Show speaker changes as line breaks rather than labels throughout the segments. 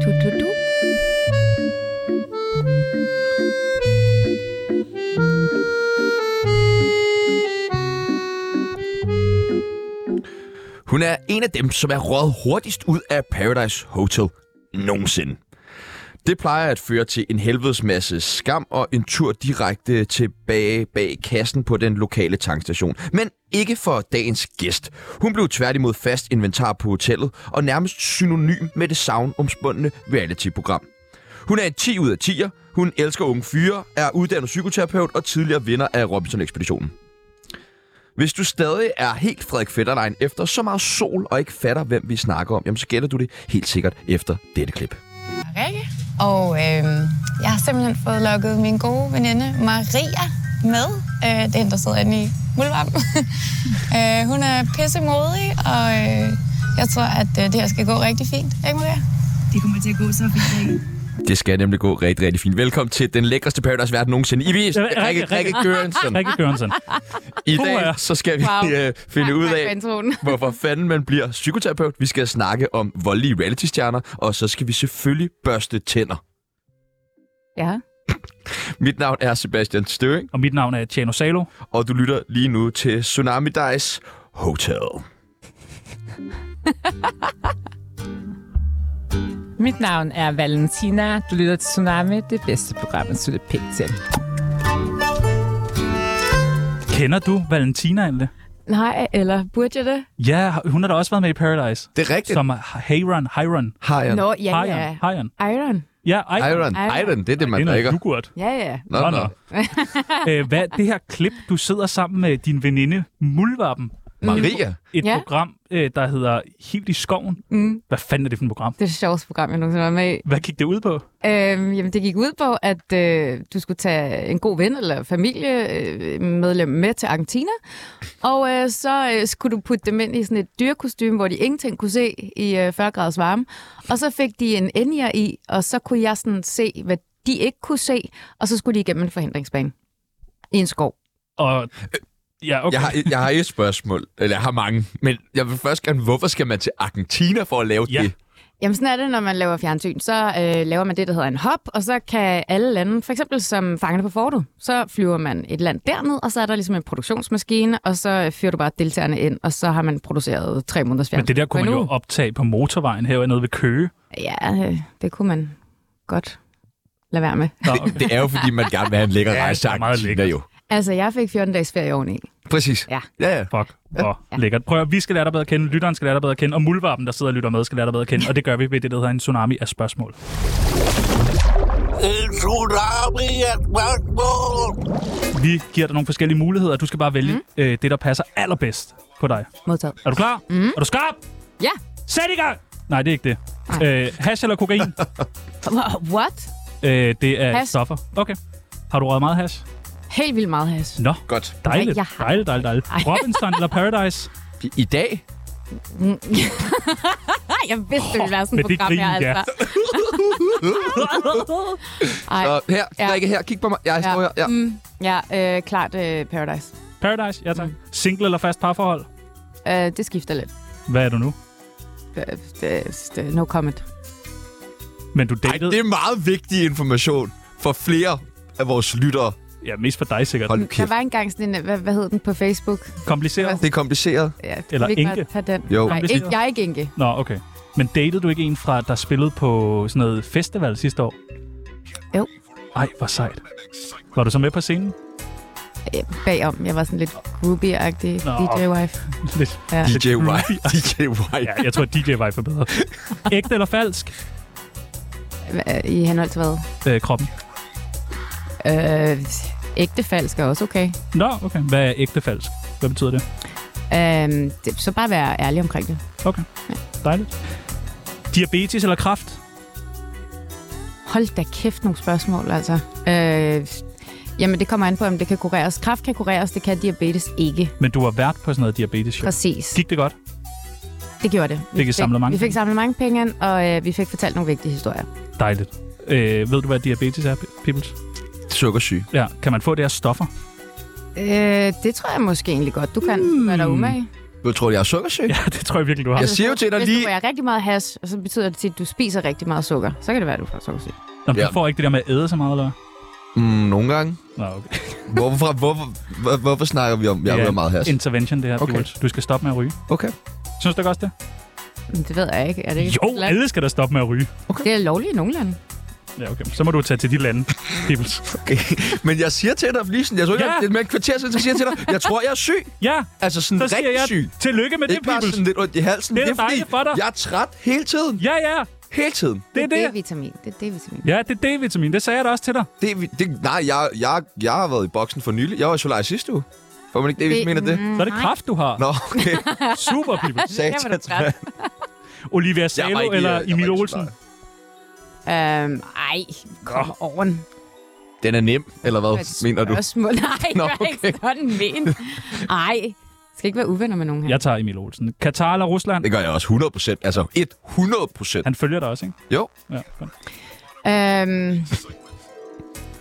Du, du, du.
Hun er en af dem, som er råd hurtigst ud af Paradise Hotel nogensinde. Det plejer at føre til en helvedes masse skam og en tur direkte tilbage bag kassen på den lokale tankstation. Men ikke for dagens gæst. Hun blev tværtimod fast inventar på hotellet og nærmest synonym med det savnomspundne reality-program. Hun er en 10 ud af 10'er, hun elsker unge fyre, er uddannet psykoterapeut og tidligere vinder af Robinson-ekspeditionen. Hvis du stadig er helt Frederik Fetterlein efter så meget sol og ikke fatter, hvem vi snakker om, jamen så gætter du det helt sikkert efter dette klip.
Rikke. Og øh, jeg har simpelthen fået lukket min gode veninde Maria med. Øh, det er hende, der sidder inde i Muldvarpen. øh, hun er pissemodig, og øh, jeg tror, at øh, det her skal gå rigtig fint. Ikke, Maria?
Det kommer til at gå så fint. Rikke.
Det skal nemlig gå rigtig, rigtig fint. Velkommen til den lækreste paradise verden nogensinde. I vis,
Ja, Rikke,
Rikke, Rikke
Rikke.
Gørensen.
Rikke Gørensen.
I dag
Hurra.
så skal vi
Wow.
øh, finde ud af,
Vandtronen.
hvorfor fanden man bliver psykoterapeut. Vi skal snakke om voldelige reality-stjerner, og så skal vi selvfølgelig børste tænder.
Ja.
Mit navn er Sebastian Støring,
Og mit navn er Tjano Salo.
og du lytter lige nu til Tsunami Dice Hotel.
Mit navn er Valentina. Du lytter til Tsunami, det bedste program, at slutte pænt til.
Kender du Valentina egentlig?
Nej, eller burde jeg det?
Ja, hun har da også været med i Paradise.
Det er rigtigt.
Som Hayron. Hayron.
Har jeg.
Nå, ja,
Hayron.
ja.
Hayron.
Iron.
Ja, Hayron.
Iron. Iron, det er det, man
Det er noget
drikker.
yoghurt.
Ja, ja.
Nå, nå.
Æ, hvad det her klip, du sidder sammen med din veninde Muldvarpen.
Maria.
Et
Ja.
ja. program, øh, der hedder Helt i skoven.
Mm.
Hvad fanden er det for et program?
Det er det sjoveste program, jeg nogensinde var med i.
Hvad gik det ud på?
Øhm, jamen, det gik ud på, at øh, du skulle tage en god ven eller familiemedlem med til Argentina, og øh, så øh, skulle du putte dem ind i sådan et dyrekostyme, hvor de ingenting kunne se i øh, 40 graders varme. Og så fik de en enjer i, og så kunne jeg sådan se, hvad de ikke kunne se, og så skulle de igennem en forhindringsbane i en skov.
Og, ja, okay.
Øh, Jeg har, jeg har et spørgsmål, eller jeg har mange, men jeg vil først gerne, hvorfor skal man til Argentina for at lave
Ja.
det?
Jamen sådan er det, når man laver fjernsyn. Så øh, laver man det, der hedder en hop, og så kan alle lande, for eksempel som fangerne på fortet, så flyver man et land derned, og så er der ligesom en produktionsmaskine, og så øh, fyrer du bare deltagerne ind, og så har man produceret tre måneders
Men
fjernsyn.
det der kunne man
på en
jo
uge.
optage på motorvejen her nede ved Køge.
Ja, øh, det kunne man godt lade være med.
Nå,
Det er jo, fordi man gerne vil have en lækker
Ja,
rejse til
det er meget
Argentina
lækkert.
jo.
Altså, jeg fik 14 dages ferie oveni.
Præcis.
Ja.
ja, ja.
Fuck, hvor ja. lækkert. Prøv at, vi skal lære dig bedre at kende, lytteren skal lære dig bedre at kende, og muldvarpen, der sidder og lytter med, skal lære dig bedre at kende, og det gør vi ved det, der hedder en tsunami af spørgsmål.
En tsunami af spørgsmål.
Vi giver dig nogle forskellige muligheder, og du skal bare vælge mm. øh, det, der passer allerbedst på dig.
Modtaget.
Er du klar? Mm. Er du skarp?
Ja.
Sæt i gang! Nej, det er ikke det. Øh, hash eller kokain?
What?
øh, det er
Hash.
stoffer. Okay. Har du røget meget hash?
Helt vildt meget has.
Nå,
Godt.
dejligt.
jeg har-
Dejligt, dejligt, dejligt. Robinson eller Paradise?
I dag?
Nej, jeg vidste, det ville være sådan et
Men det
program, jeg
grin, ja.
altså. Ej,
Så her,
Ja.
Rikke, her, kig på mig. Jeg står her. Ja.
Mm, ja øh, klart øh, Paradise.
Paradise, ja tak. Single eller fast parforhold?
Øh, det skifter lidt.
Hvad er du nu?
Øh, det- det- No comment.
Men du
Ej,
datede...
det er meget vigtig information for flere af vores lyttere.
Ja, mest for dig sikkert.
Hold nu
Der
kæft.
var engang sådan en, øh, hvad, hvad hed den på Facebook?
Kompliceret?
Det er kompliceret.
Ja, det
Eller
vil ikke
enke.
bare Tage den.
Jo.
Nej, ikke, jeg er ikke enke.
Nå, okay. Men datede du ikke en fra, der spillede på sådan noget festival sidste år?
Jo.
Ej, hvor sejt. Var du så med på scenen?
Øh, Bagom, jeg var sådan lidt groovy-agtig
Nå.
DJ-wife.
Lidt.
Ja.
DJ White. DJ White.
Ja, jeg tror, at DJ var for bedre. Ægte eller falsk?
Hva- I henhold til hvad?
Øh, kroppen.
Øh, ægte falsk er også okay.
Nå, okay. Hvad er ægte falsk? Hvad betyder det?
Øh, det, så bare være ærlig omkring det.
Okay. Dejligt. Diabetes eller kræft?
Hold da kæft nogle spørgsmål, altså. Øh, jamen, det kommer an på, om det kan kureres. Kræft kan kureres, det kan diabetes ikke.
Men du var vært på sådan noget diabetes show.
Præcis.
Gik det godt?
Det gjorde det.
Fik I samlet mange
Vi fik
penge?
samlet mange penge, ind, og øh, vi fik fortalt nogle vigtige historier.
Dejligt. Øh, ved du, hvad diabetes er, Pibbles?
Sukkersyg.
Ja. Kan man få det her stoffer?
Øh, det tror jeg måske egentlig godt, du kan. Mm. Hvad er der umage? Altså,
Du tror, jeg er sukkersyg? Ja.
Ja, det tror jeg virkelig, du har.
Jeg siger jo til dig
Hvis
lige...
du er rigtig meget hash, og så betyder det tit, at du spiser rigtig meget sukker, så kan det være, at du får sukkersyge.
Nå, men
Ja.
du får ikke det der med at æde så meget, eller hvad?
Mm, nogle gange.
Nå, okay.
Hvorfor, hvorfor, hvor, hvorfor snakker vi om, jeg
Det er
er meget her?
Intervention, det her.
Okay.
Okay. Du skal stoppe med at ryge.
Okay.
Synes du ikke også det?
Men det ved jeg ikke. Er det ikke
Jo, alle skal da stoppe med at ryge.
Det er lovligt i nogle lande.
Ja, okay. Så må du tage til de lande, Peoples.
okay. Men jeg siger til dig, lige sådan, jeg tror ikke,
Ja.
ja. det er med et kvarter siden, så siger jeg til dig, jeg tror, jeg er syg.
Ja,
Altså sådan
så siger
rigtig
jeg,
syg.
tillykke med det,
Ikke bare
Peoples.
sådan lidt ondt i halsen.
Det er da
fordi,
dejligt for dig.
jeg er træt hele tiden.
Ja, ja,
Hele tiden.
det er det.
D-vitamin. Det er D-vitamin.
Ja, det er D-vitamin. Det sagde jeg da også til dig.
Det, er vi- det, nej, jeg, jeg, jeg har været i boksen for nylig. Jeg var i Solar sidste uge. Får man ikke det, hvis mener det?
Så er det kraft, du har.
Nå, okay.
Super, Peoples.
Mm. Jeg var da
Satans,
træt.
mand.
Olivia
Jeg var
Salo
ikke i- jeg
eller
var
Emil
ikke i
Olsen.
Solar.
Øhm, ej, kom over den.
Den er nem, eller hvad, mener du?
Spørgsmål. Nej,
Nå,
Nå, okay. ikke sådan men. Ej, jeg skal ikke være uvenner med nogen her.
Jeg tager Emil Olsen. Katar eller Rusland?
Det gør jeg også 100 procent. Altså 100 procent.
Han følger dig også, ikke?
Jo.
Ja. godt.
Øhm,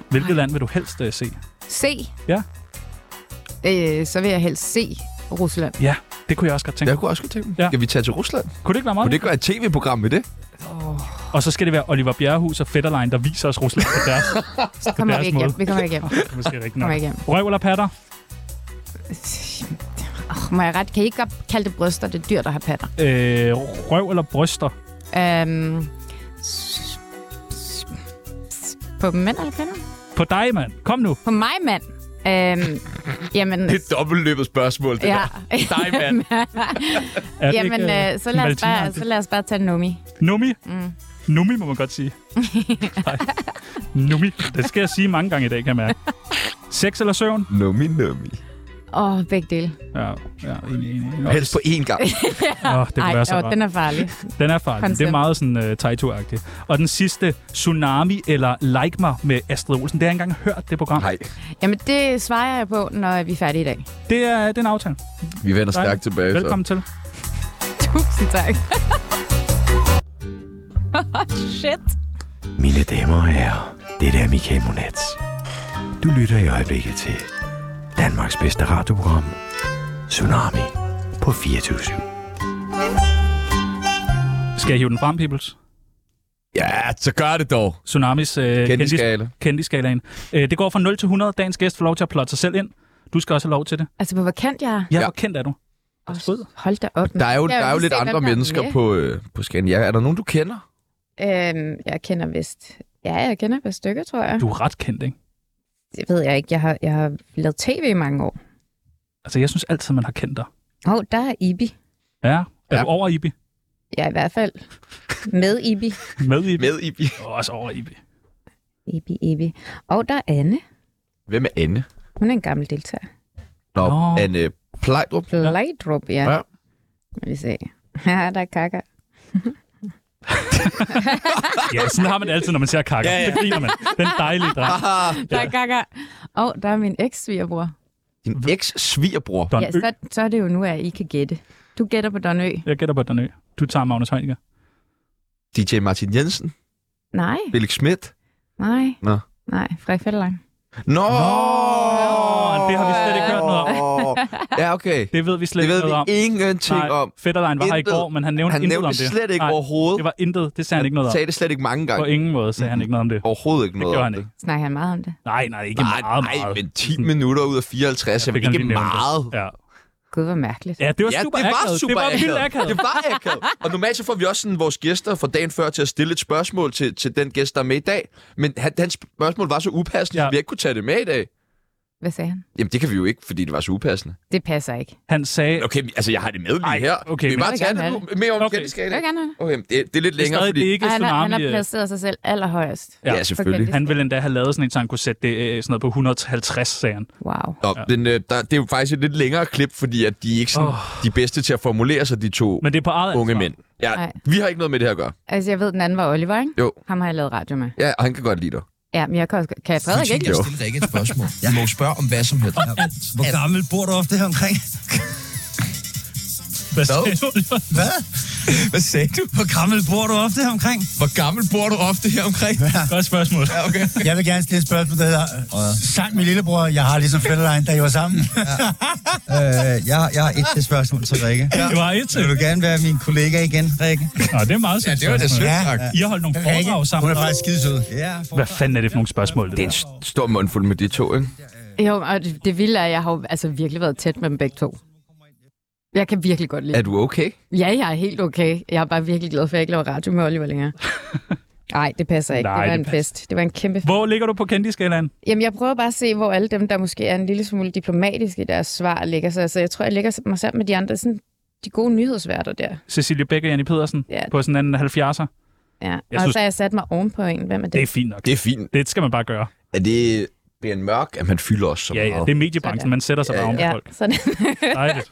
Hvilket land vil du helst uh, se?
se.
Ja.
Øh, så vil jeg helst se Rusland.
Ja, det kunne jeg også godt tænke.
Jeg
Ja.
kunne også godt tænke mig.
Ja.
Skal vi tage til Rusland?
Kunne det ikke være meget?
Kunne det ikke være et tv-program med det?
Og så skal det være Oliver Bjerrehus og Fetterlein, der viser os Rusland på deres.
Så kommer
deres
vi ikke hjem.
måde.
Vi kommer ikke hjem.
det er måske rigtigt nok.
Kommer ikke hjem.
Røv eller patter?
Oh, må jeg ret? Kan I ikke godt kalde det bryster? Det er dyr, der har patter.
Øh, røv eller bryster?
Øhm, s- s- s- på mænd eller kvinder?
På dig, mand. Kom nu.
På mig, mand. Øhm, jamen,
Det er et dobbeltløbet spørgsmål, det
ja.
der. Dig, mand.
Er det
jamen
ikke,
øh, så, lad os bare, så lad os bare tage Nomi.
Nummi? Mm. Nummi, må man godt sige. Nej. Nummi. Det skal jeg sige mange gange i dag, kan jeg mærke. Sex eller søvn?
Nummi, nummi.
Åh, oh, begge dele.
Ja, ja enig, enig. Nå,
Helst på én gang.
åh, det kunne
Ej,
være så
åh,
rart.
den er farlig.
Den er farlig.
Consent.
Det er meget sådan uh, Taito-agtig. Og den sidste, Tsunami eller Like Mig med Astrid Olsen. Det har jeg ikke engang hørt, det program.
Nej,
Jamen, det svarer jeg på, når vi er færdige i dag.
Det er, det er en aftale.
vi vender
Nej.
stærkt tilbage. så.
Velkommen til.
Tusind tak. Shit.
Mine damer og herrer, det er Michael Monats. Du lytter i øjeblikket til Danmarks bedste radioprogram, Tsunami på 24
Skal jeg hive den frem, Peoples?
Ja, så gør det dog.
Tsunamis øh,
Kendiskala.
kendis- kendiskalaen. Øh, det går fra 0 til 100. Dagens gæst får lov til at plotte sig selv ind. Du skal også have lov til det.
Altså, hvor kendt jeg er.
Ja,
Ja.
ja. hvor kendt er du?
Åh,
Astrid.
Hold da op.
Der er jo,
Jeg
der er jo
vil
lidt
se, hvem
andre
der er
mennesker
med.
på, øh, på Scania. Er der nogen, du kender?
Øhm, jeg kender vist... Ja, jeg kender et par stykker, tror jeg.
Du er ret kendt, ikke?
Det ved jeg ikke. Jeg har, jeg har lavet tv i mange år.
Altså, jeg synes altid, man har kendt dig.
Åh, oh, der er Ibi.
Ja. Er
Ja.
ja. du over Ibi?
Jeg er i hvert fald med Ibi.
Med Ibi?
Med i bilen.
Og også over Ibi.
Ibi, Ibi. Og der er Anne.
Hvem er Anne?
Hun er en gammel deltager.
Nå,
Nå.
Anne Plejdrup.
Plejdrup, ja.
Ja.
ja. Vi se. Ja, der er kaka.
Ja, sådan har man det altid, når man ser kakker. Ja, ja. Det griner man. Den dejlige dreng.
Der er kaka. Og der er min eks-svigerbror.
Din eks-svigerbror.
Don
Ja,
Ø.
så, så er det jo nu, at I kan gætte. Du gætter på Don Ø.
Jeg gætter på Don Ø. Du tager Magnus Heunicke.
DJ Martin Jensen.
Nej,
Felix Schmidt.
nej.
Nå.
Nej, Frederik Fetterlein.
Nå!
det har vi slet ikke hørt noget
om. Ja, okay.
Det ved vi slet
Det ved
ikke noget om.
vi ingenting
Nej,
om.
Fetterlein var her i
Intet.
går, men han nævnte
Han
intet
nævnte
om
det
det.
slet ikke
Nej,
overhovedet.
Det var intet. Det sagde han ikke noget om.
sagde Mm-hmm. det slet ikke mange
På
gange.
ingen måde sagde han ikke noget om det.
Overhovedet ikke
Det
noget
gjorde
om
han
det.
ikke.
Snakker han meget om det?
Nej, nej, ikke
Nej,
meget,
nej,
meget.
men 10 minutter ud af 54 er
Fik han
ikke
lige nævnt det.
meget.
Ja.
Gud, hvor mærkeligt.
ja, det var
Ja,
super
det var
akavet.
super
det var vildt
akavet.
akavet.
Det var akavet. Og normalt så får vi også sådan, vores gæster fra dagen før til at stille et spørgsmål til, til den gæst, der er med i dag. Men han, hans spørgsmål var så upassende, ja.
Ja.
at vi ikke kunne tage det med i dag.
Hvad sagde han?
Jamen, det kan vi jo ikke, fordi det var så upassende.
Det passer ikke.
Han sagde,
Okay, men- altså, jeg har det med lige
Ej,
her.
okay,
vi
men-
bare
Jeg vil
tage
gerne
det
have
nu. Mere om
Okay.
okay.
Jeg vil
skala.
gerne have det.
Okay, men det, det er lidt
det er
længere,
stadig
fordi...
det er ikke
Og han, har, han
tsunami.
har
øh,
placeret sig selv allerhøjest.
Ja.
Ja, selvfølgelig.
Han ville endda have lavet sådan en, så han kunne sætte det øh, sådan noget på 150, sagde han.
Wow.
Nå, ja. den, øh, der, det er jo faktisk et lidt længere klip, fordi at de er ikke sådan, oh.
Åh.
de bedste til at formulere sig, de to
Men det er på eget
unge
ansvar.
mænd. Ja,
Nej.
vi har ikke noget med det her at gøre.
Altså, jeg ved, den anden var Oliver, ikke?
Jo.
Ham har jeg lavet radio med.
Ja, og han kan godt lide dig.
Ja, men jeg kan også... Kan jeg Frederik ikke?
Jo.
Stil dig ikke et spørgsmål. Du må spørge om hvad som helst. Hvor gammel bor du ofte her omkring?
Hvad
Hvad?
sagde du?
Hvad? Hvad sagde du?
Hvor gammel bor du ofte her omkring?
Hvor gammel bor du ofte her omkring?
Godt spørgsmål.
Ja, okay.
Jeg vil gerne stille et spørgsmål, der hedder, øh, sang min lillebror, jeg har ligesom fælleline, da I var sammen.
Øh, jeg, jeg har et til spørgsmål til Rikke.
Det var et til.
Vil du gerne være min kollega igen, Rikke?
Nå, det er meget
Ja,
sødt.
det var da sødt
Ja.
nok.
I har holdt nogle foredrag sammen.
Hun er faktisk skide sød.
Ja, for...
Hvad fanden er det for nogle spørgsmål, det
Det er
der?
en stor mundfuld med de to, ikke?
Jo, og det, det vilde er, at jeg har jo altså virkelig været tæt med dem begge to. Jeg kan virkelig godt lide
Er du okay?
Ja, jeg er helt okay. Jeg er bare virkelig glad for, at jeg ikke laver radio med Oliver længere. Nej, det passer ikke.
Nej,
det var
det
en fest. Det var en kæmpe
Hvor ligger du på Candy-skalaen?
Jamen, jeg prøver bare at se, hvor alle dem, der måske er en lille smule diplomatiske i deres svar, ligger sig. Altså, jeg tror, jeg ligger mig sammen med de andre, sådan de gode nyhedsværter der.
Cecilie Bæk og Jenny Pedersen
Ja.
på sådan en 70'er.
Ja. Og
synes-
synes... så har jeg sat mig ovenpå en. Hvem er det?
Det er fint nok.
Det er fint.
Det skal man bare gøre.
Er det Brian Mørk, at man fylder os så
Ja, ja.
meget?
Det er mediebranchen.
Sådan.
Man sætter sig
Ja,
bare om på
ja,
folk.
sådan.
Dejligt.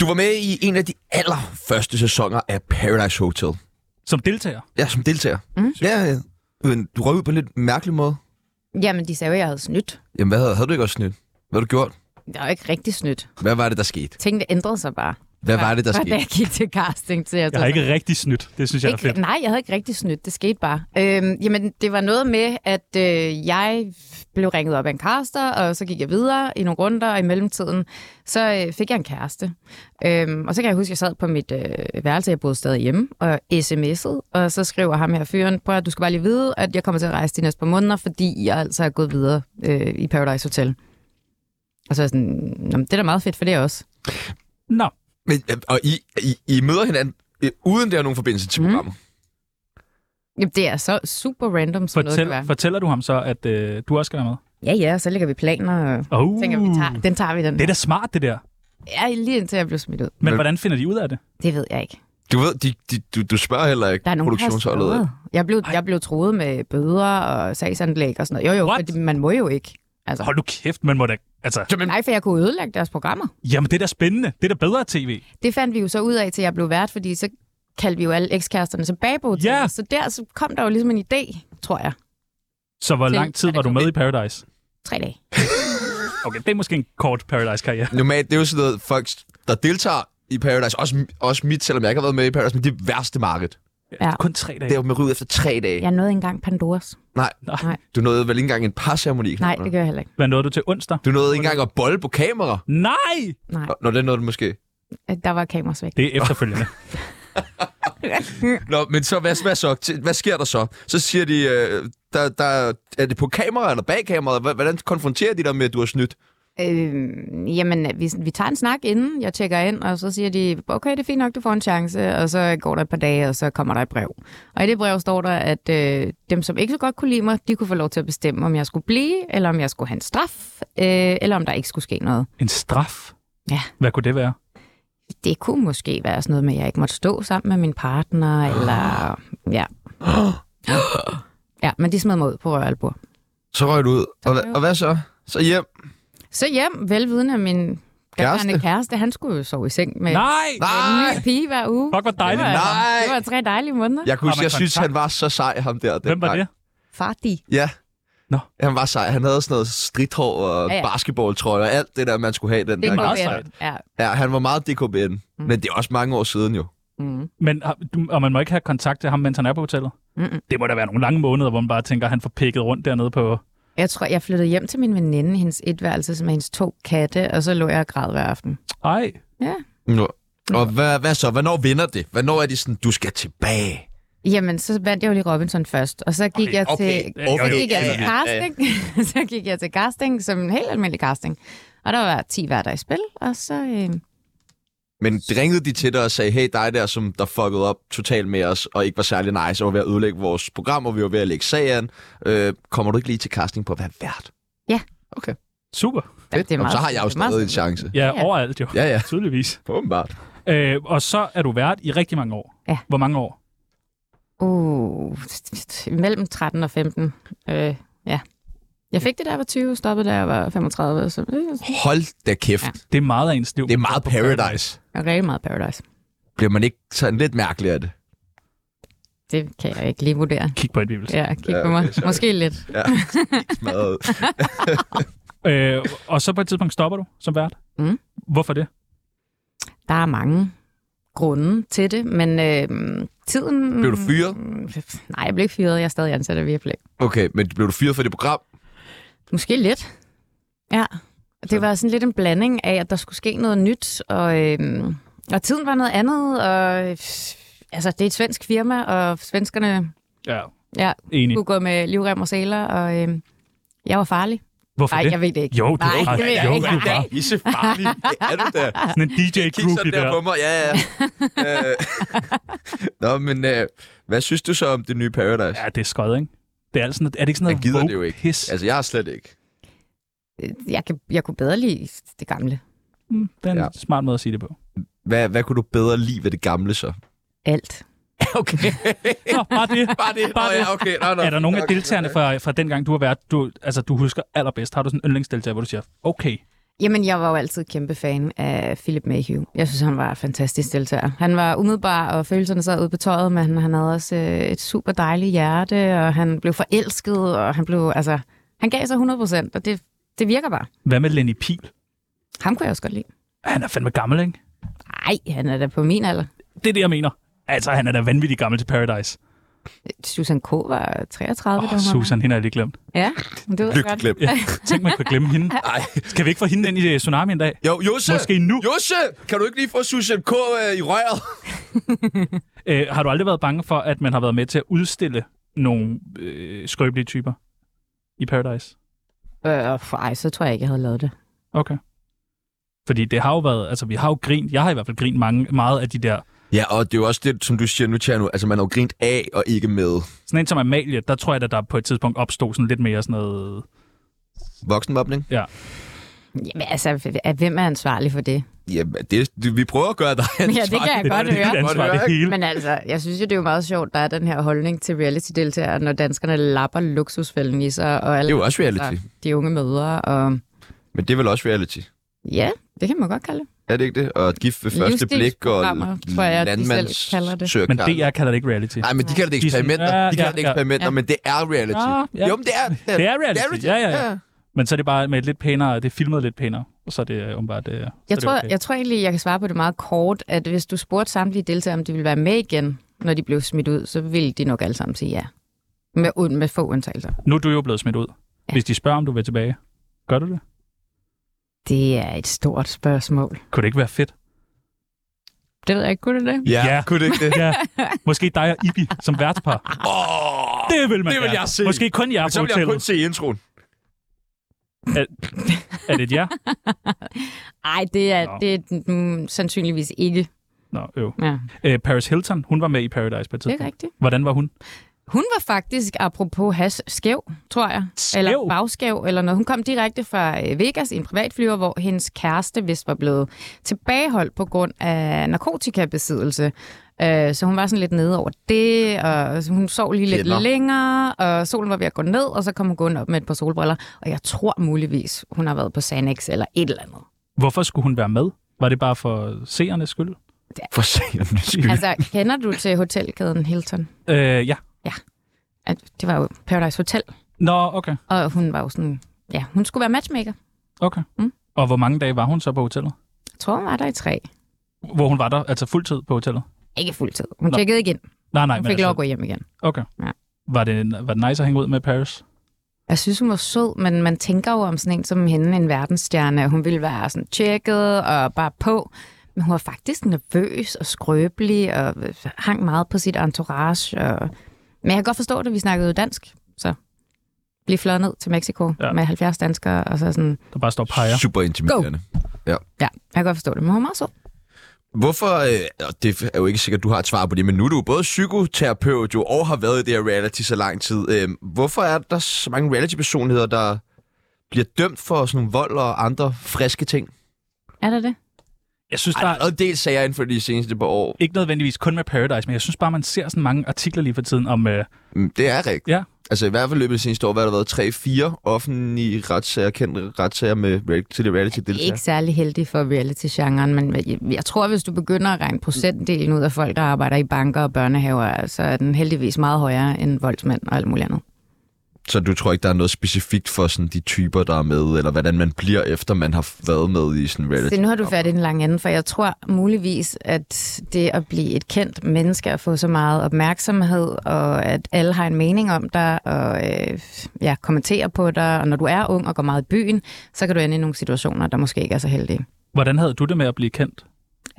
Du var med i en af de allerførste sæsoner af Paradise Hotel.
Som deltager.
Ja, som deltager.
Mm.
Ja, ja. Men du røg ud på en lidt mærkelig måde.
Jamen, de sagde jo, at jeg havde snydt.
Jamen, hvad havde, havde du ikke også snydt? Hvad har du gjort?
Jeg var ikke rigtig snydt.
Hvad var det, der skete?
Tingene ændrede sig bare.
Hvad var det, der
Fra da
skete?
jeg gik til casting til...
Jeg har ikke rigtig snydt. Det synes jeg er fedt.
ikke, nej, jeg havde ikke rigtig snydt. Det skete bare. Øhm, jamen, det var noget med, at øh, jeg blev ringet op af en caster, og så gik jeg videre i nogle runder, og i mellemtiden, så øh, fik jeg en kæreste. Øhm, og så kan jeg huske, at jeg sad på mit øh, værelse, jeg boede stadig hjemme, og sms'ede, og så skriver ham her fyren, prøv at du skal bare lige vide, at jeg kommer til at rejse de næste par måneder, fordi jeg altså er gået videre øh, i Paradise Hotel. Og så er jeg sådan, "Nå, men det er da meget fedt for det også.
Nå,
Men, øh, og I, I, I møder hinanden øh, uden der er nogen forbindelse til
Mm.
programmet.
Jamen, det er så super random, som noget kan
fortæl,
være.
fortæller du ham så, at øh, du også skal være med?
Ja, ja, så lægger vi planer, og
Oh,
tænker, vi tager, den tager vi den.
Det er da smart, det der.
Ja, lige indtil jeg blev smidt ud.
Men
Men-
hvordan finder de ud af det?
Det ved jeg ikke.
Du ved, de, de, du, du spørger heller ikke
Der er nogen, der har
produktionsholdet.
stået. Jeg blev, jeg blev troet med bøder og sagsanlæg og sådan noget. Jo, jo,
What?
fordi man må jo ikke. Altså,
Hold nu kæft, man må da... Altså,
nej, for jeg kunne ødelægge deres programmer.
jamen, det er da spændende. Det er da bedre tv.
Det fandt vi jo så ud af, til jeg blev vært, fordi så kaldte vi jo alle ekskæresterne tilbage på hotellet.
Ja.
Så der så kom der jo ligesom en idé, tror jeg.
Så hvor
Til-
lang tid
Ja, det
var du
kom
med i Paradise?
Tre dage.
Okay, det er måske en kort Paradise-karriere.
Normalt, det er jo sådan noget, folk, der deltager i Paradise, også, også mit, selvom jeg ikke har været med i Paradise, men det er værste marked.
Ja.
Kun tre dage.
Det er jo med ryd efter tre dage. Ja.
Jeg nåede ikke engang Pandoras.
Du nåede vel ikke engang en parceremoni?
Nej, det gør jeg heller ikke.
Hvad nåede du til onsdag?
Du nåede ikke engang at bolle på kamera.
Nej!
Nej,
Nå, Nå, det nåede du måske.
der var kameras væk.
Det er efterfølgende.
Nå, men så hvad, hvad, så, Til- hvad sker der så? Så siger de, øh, der, der, er det på kamera eller bag kameraet? Hva- Hvordan konfronterer de dig med, at du har snydt?
Øh, jamen, vi, vi tager en snak inden, jeg tjekker ind, og så siger de, okay, det er fint nok, du får en chance, og så går der et par dage, og så kommer der et brev. Og i det brev står der, at øh, dem, som ikke så godt kunne lide mig, de kunne få lov til at bestemme, om jeg skulle blive, eller om jeg skulle have en straf, øh, eller om der ikke skulle ske noget.
En straf?
Ja.
Hvad kunne det være?
Det kunne måske være sådan noget med, at jeg ikke måtte stå sammen med min partner, eller ja. Ja, men de smed mig ud på røralbord.
Så røg du ud. Og, hva- og hvad så? Så hjem.
Så hjem, velvidende af min kæreste.
Kæreste?
kæreste, han skulle jo sove i seng med
Nej!
Nej. en
Nej!
ny pige hver uge.
Fuck, hvor dejligt.
Det var,
Nej!
Det var tre dejlige måneder. Ja.
Jeg kunne
Har
huske,
man
jeg synes,
kontakt?
han var så sej, ham der.
Hvem var
dengang.
det?
Farti.
Ja.
Nå.
Han var sej. Han havde sådan noget stridthår og
Ja,
ja,
ja.
ja. basketballtrøje og alt det der, man skulle have den
Det er
der.
meget
meget
sejt.
Ja.
Ja, han var meget DKBN. Mm. Men det er også mange år siden jo.
Mm.
Men, har- du- og man må ikke have kontakt til ham, mens han er på hotellet?
Mm-mm.
Det må da være nogle lange måneder, hvor man bare tænker, at han får pikket rundt dernede på...
Jeg tror, jeg flyttede hjem til min veninde, hendes etværelse, som er hendes to katte, og så lå jeg og græd hver aften.
Ej,
Ja.
Nå. Og hvad, hvad så? Hvornår vinder det? Hvornår er det sådan, du skal tilbage?
Jamen, så vandt jeg jo lige Robinson først, og så gik okay, jeg
okay.
til,
Okay,
så gik jeg
okay,
til
ja, ja.
casting, så gik jeg til casting, som en helt almindelig casting. Og der var 10 værter i spil, og så... Øh,
Men ringede de til dig og sagde, hey dig der, som der fuckede op totalt med os, og ikke var særlig nice, og var ved at ødelægge vores program, og vi var ved at lægge sagen. Øh, kommer du ikke lige til casting på at være vært?
super.
det er
Nå,
meget,
så har jeg jo
det er meget
stadig en
sådan.
chance.
Ja,
Ja.
overalt jo.
Ja, ja.
Tydeligvis.
Åbenbart.
Øh, og så er du vært i rigtig mange år.
Ja.
Hvor mange år?
Uh, mellem 13 og 15. Øh, ja. Jeg fik det, da jeg var 20, stoppede, da jeg var 35, så det
Hold da kæft.
Ja.
Ja.
Det er meget af ens liv.
Det er meget paradise.
er rigtig meget Paradise.
Bliver man ikke sådan lidt mærkelig af det?
Det kan jeg ikke lige vurdere.
Kig på et bibel. Ja.
Ja, kig
Ja,
på mig.
okay, sorry.
Måske lidt.
Ja. Smadret.
Øh, og så på et tidspunkt stopper du som vært.
Mm.
Hvorfor det?
Der er mange grunde til det, men øh, tiden...
Blev du fyret?
Nej, jeg blev ikke fyret. Jeg er stadig ansat af Viaplay.
Okay, men blev du fyret for det program?
Måske lidt. Ja. Det var sådan lidt en blanding af, at der skulle ske noget nyt, og, øh, og tiden var noget andet, og øh, altså, det er et svensk firma, og svenskerne
Ja.
ja,
Enig.
kunne gå med livrem og sæler, og øh, jeg var farlig.
Hvorfor
Nej,
det?
jeg ved det ikke.
Jo, du
Nej,
var-
det ved jeg
jo,
ikke.
du
Nej.
var.
Isse farlig. Det er du da.
Sådan en DJ
Kig
groupie
sådan der,
der.
på mig. Ja, ja. øh. Nå, men øh, hvad synes du så om det nye Paradise?
Ja, det er skød, ikke? Det er, altså sådan, er det ikke sådan
Jeg
noget
gider det
woke
jo ikke.
Pis?
Altså, jeg har slet ikke.
Jeg, kan, jeg kunne bedre lide det gamle.
Det er en
Ja.
ja. Mm, smart måde at sige det på.
Hvad, hvad kunne du bedre lide ved det gamle så?
Alt.
okay.
Nå, bare det.
Bare det. Nå, ja, okay. Nå, nå.
er der nogen af
Okay,
deltagerne fra, fra dengang, du har været, du, altså, du husker allerbedst? Har du sådan en yndlingsdeltager, hvor du siger, okay,
Jamen, jeg var jo altid kæmpe fan af Philip Mayhew. Jeg synes, han var en fantastisk deltager. Han var umiddelbar, og følelserne sad ude på tøjet, men han havde også øh, et super dejligt hjerte, og han blev forelsket, og han blev, altså, han gav sig 100 procent, og det, det virker bare.
hvad med Lenny Pil?
Ham kunne jeg også godt lide.
Han er fandme gammel, ikke?
Nej, han er da på min alder.
Det er det, jeg mener. Altså, han er da vanvittig gammel til Paradise.
Susan K. var 33, oh, da hun
Og
var med.
Susan, hende er lige glemt.
Ja, men det ved jeg
Lykke
godt.
glemt. Tænk, man kunne glemme hende.
Nej.
Skal vi ikke få hende ind i øh, Tsunami en dag?
Jo, Josse!
Måske nu.
Josse! Kan du ikke lige få Susan K. Øh, i røret?
Øh, har du aldrig været bange for, at man har været med til at udstille nogle øh, skrøbelige typer i Paradise?
Øh, for ej, så tror jeg ikke, jeg havde lavet det.
Okay. Fordi det har jo været, altså vi har jo grint, jeg har i hvert fald grint mange, meget af de der,
Ja, og det er jo også det, som du siger nu, Tjerno. Altså, man har jo grint af og ikke med.
sådan en som Amalie, der tror jeg, at der på et tidspunkt opstod sådan lidt mere sådan noget,
Voksenmobning?
ja.
Jamen altså, at- hvem er ansvarlig for det?
Ja, det, det, vi prøver at gøre dig
Ja, det kan jeg godt høre.
ansvar, det hele.
Men altså, jeg synes jo, det er jo meget sjovt, der er den her holdning til reality-deltagere, når danskerne lapper luksusfælden i sig. Og alle,
Det er jo også reality.
Altså, de unge mødre, og
Men det er vel også reality?
ja, det kan man godt kalde det.
Er det ikke det? Og gift ved første blik og
Livsstilsprogrammer, tror jeg, de selv
landmands
kalder det.
søger
Men
Karl.
DR kalder det ikke reality.
Nej, men de kalder det eksperimenter.
Ja,
De kalder
ja,
det
ja.
eksperimenter,
Ja.
men det er reality.
Ah, ja.
Jo, men det er det.
Det er reality, ja, ja, ja.
ja.
Men så er det bare med et lidt pænere, det er filmet lidt pænere, og så er det øh, åbenbart, øh, så er
Jeg
det
tror,
okay.
jeg tror egentlig, jeg kan svare på det meget kort, at hvis du spurgte samtlige deltagere, om de ville være med igen, når de blev smidt ud, så ville de nok alle sammen sige ja. Med, und- med få undtagelser.
Nu er du jo blevet smidt ud.
Ja.
Hvis de spørger, om du vil tilbage, gør du det?
Det er et stort spørgsmål.
Kunne det ikke være fedt?
Det ved jeg ikke, kunne det det?
Ja, kunne det ikke det?
Ja. Måske dig og Ibi som værtspar.
Åh,
Det vil man
det vil
gerne.
jeg se.
Måske kun jer
Men
på
så vil jeg kun
hotellet.
se introen.
Er det et ja?
Ej, det
Nå.
er, det er mm, sandsynligvis ikke.
Nå, øv.
Ja,
Æ, Paris Hilton, hun var med i Paradise på et
det er
tidspunkt.
rigtigt.
Hvordan var hun?
Hun var faktisk, apropos has, skæv, tror jeg.
Skæv?
Eller bagskæv, eller noget. Hun kom direkte fra øh, Vegas i en privatflyver, hvor hendes kæreste vist var blevet tilbageholdt på grund af narkotikabesiddelse. Øh, Så hun var sådan lidt nede over det, og hun sov lige lidt
Kender.
længere, og solen var ved at gå ned, og så kom hun gående op med et par solbriller. Og jeg tror muligvis, hun har været på Xanax eller et eller andet.
Hvorfor skulle hun være med? Var det bare for seernes skyld?
For seernes skyld.
Altså, kender du til hotelkæden Hilton?
Øh, ja.
At Det var jo Paradise Hotel,
Nå, okay.
og hun var jo sådan... Ja, hun skulle være matchmaker.
okay.
Mm.
Og hvor mange dage var hun så på hotellet?
Jeg tror, hun var der i tre.
Hvor hun var der, altså fuldtid på hotellet?
Ikke fuldtid. Hun
Nå.
tjekkede ikke ind.
Nej, nej.
Hun
men
fik lov at
altså,
gå hjem igen.
Okay.
Ja.
Var det, var det nice at hænge ud med Paris?
Jeg synes, hun var sød, men man tænker jo om sådan en som hende, en verdensstjerne, at hun ville være sådan tjekket og bare på. Men hun var faktisk nervøs og skrøbelig og øh, hang meget på sit entourage. Og... Men jeg kan godt forstå det, vi snakkede jo dansk, så blive fløjet ned til Mexico
Ja.
ja. med 70 danskere, og så sådan,
Der bare står peger.
Super intimiderende.
ja, jeg kan godt forstå det, men hun var meget sød.
Hvorfor, øh, og det er jo ikke sikkert, at du har et svar på det, men nu er du jo både psykoterapeut jo, og har været i det her reality så lang tid. Øh, hvorfor er der så mange reality-personligheder, der bliver dømt for sådan nogle vold og andre friske ting?
Er det det?
Jeg synes,
Ej,
der
der er
er
noget del sager inden for de seneste par år.
ikke nødvendigvis kun med Paradise, men jeg synes bare, man ser sådan mange artikler lige for tiden om... Øh,
Mm, Det er rigtigt.
Ja.
Altså i hvert fald i løbet af de seneste år, hvad har der været 3-4 offentlige retssager, kendte retssager med real- til det reality
Det er
deltager.
ikke særlig heldig for reality-genren, men jeg- jeg tror, hvis du begynder at regne procentdelen ud af folk, der arbejder i banker og børnehaver, så er den heldigvis meget højere end voldsmænd og alt muligt andet.
Så du tror ikke, der er noget specifikt for sådan, de typer, der er med, eller hvordan man bliver, efter man har været med i sådan reality?
Så nu har du fat i den lange ende, for jeg tror muligvis, at det at blive et kendt menneske og få så meget opmærksomhed, og at alle har en mening om dig, og øh, ja, kommenterer på dig, og når du er ung og går meget i byen, så kan du ende i nogle situationer, der måske ikke er så heldige.
Hvordan havde du det med at blive kendt?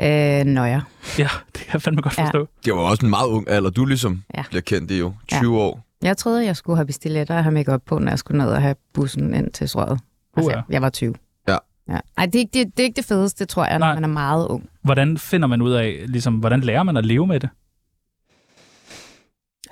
Øh, nøjer.
Ja, det kan jeg fandme godt forstå. Ja.
Det var også en meget ung alder, du ligesom
ja.
bliver kendt i jo. 20 ja. år.
Jeg troede, jeg skulle have bestilletter og have make på, når jeg skulle ned og have bussen ind til strøget. Altså,
Uha.
jeg, jeg var 20.
Ja.
ja. Ej, det er, ikke, det, det er ikke det fedeste, tror jeg, når
Nej.
man er meget ung.
Hvordan finder man ud af, ligesom, hvordan lærer man at leve med det?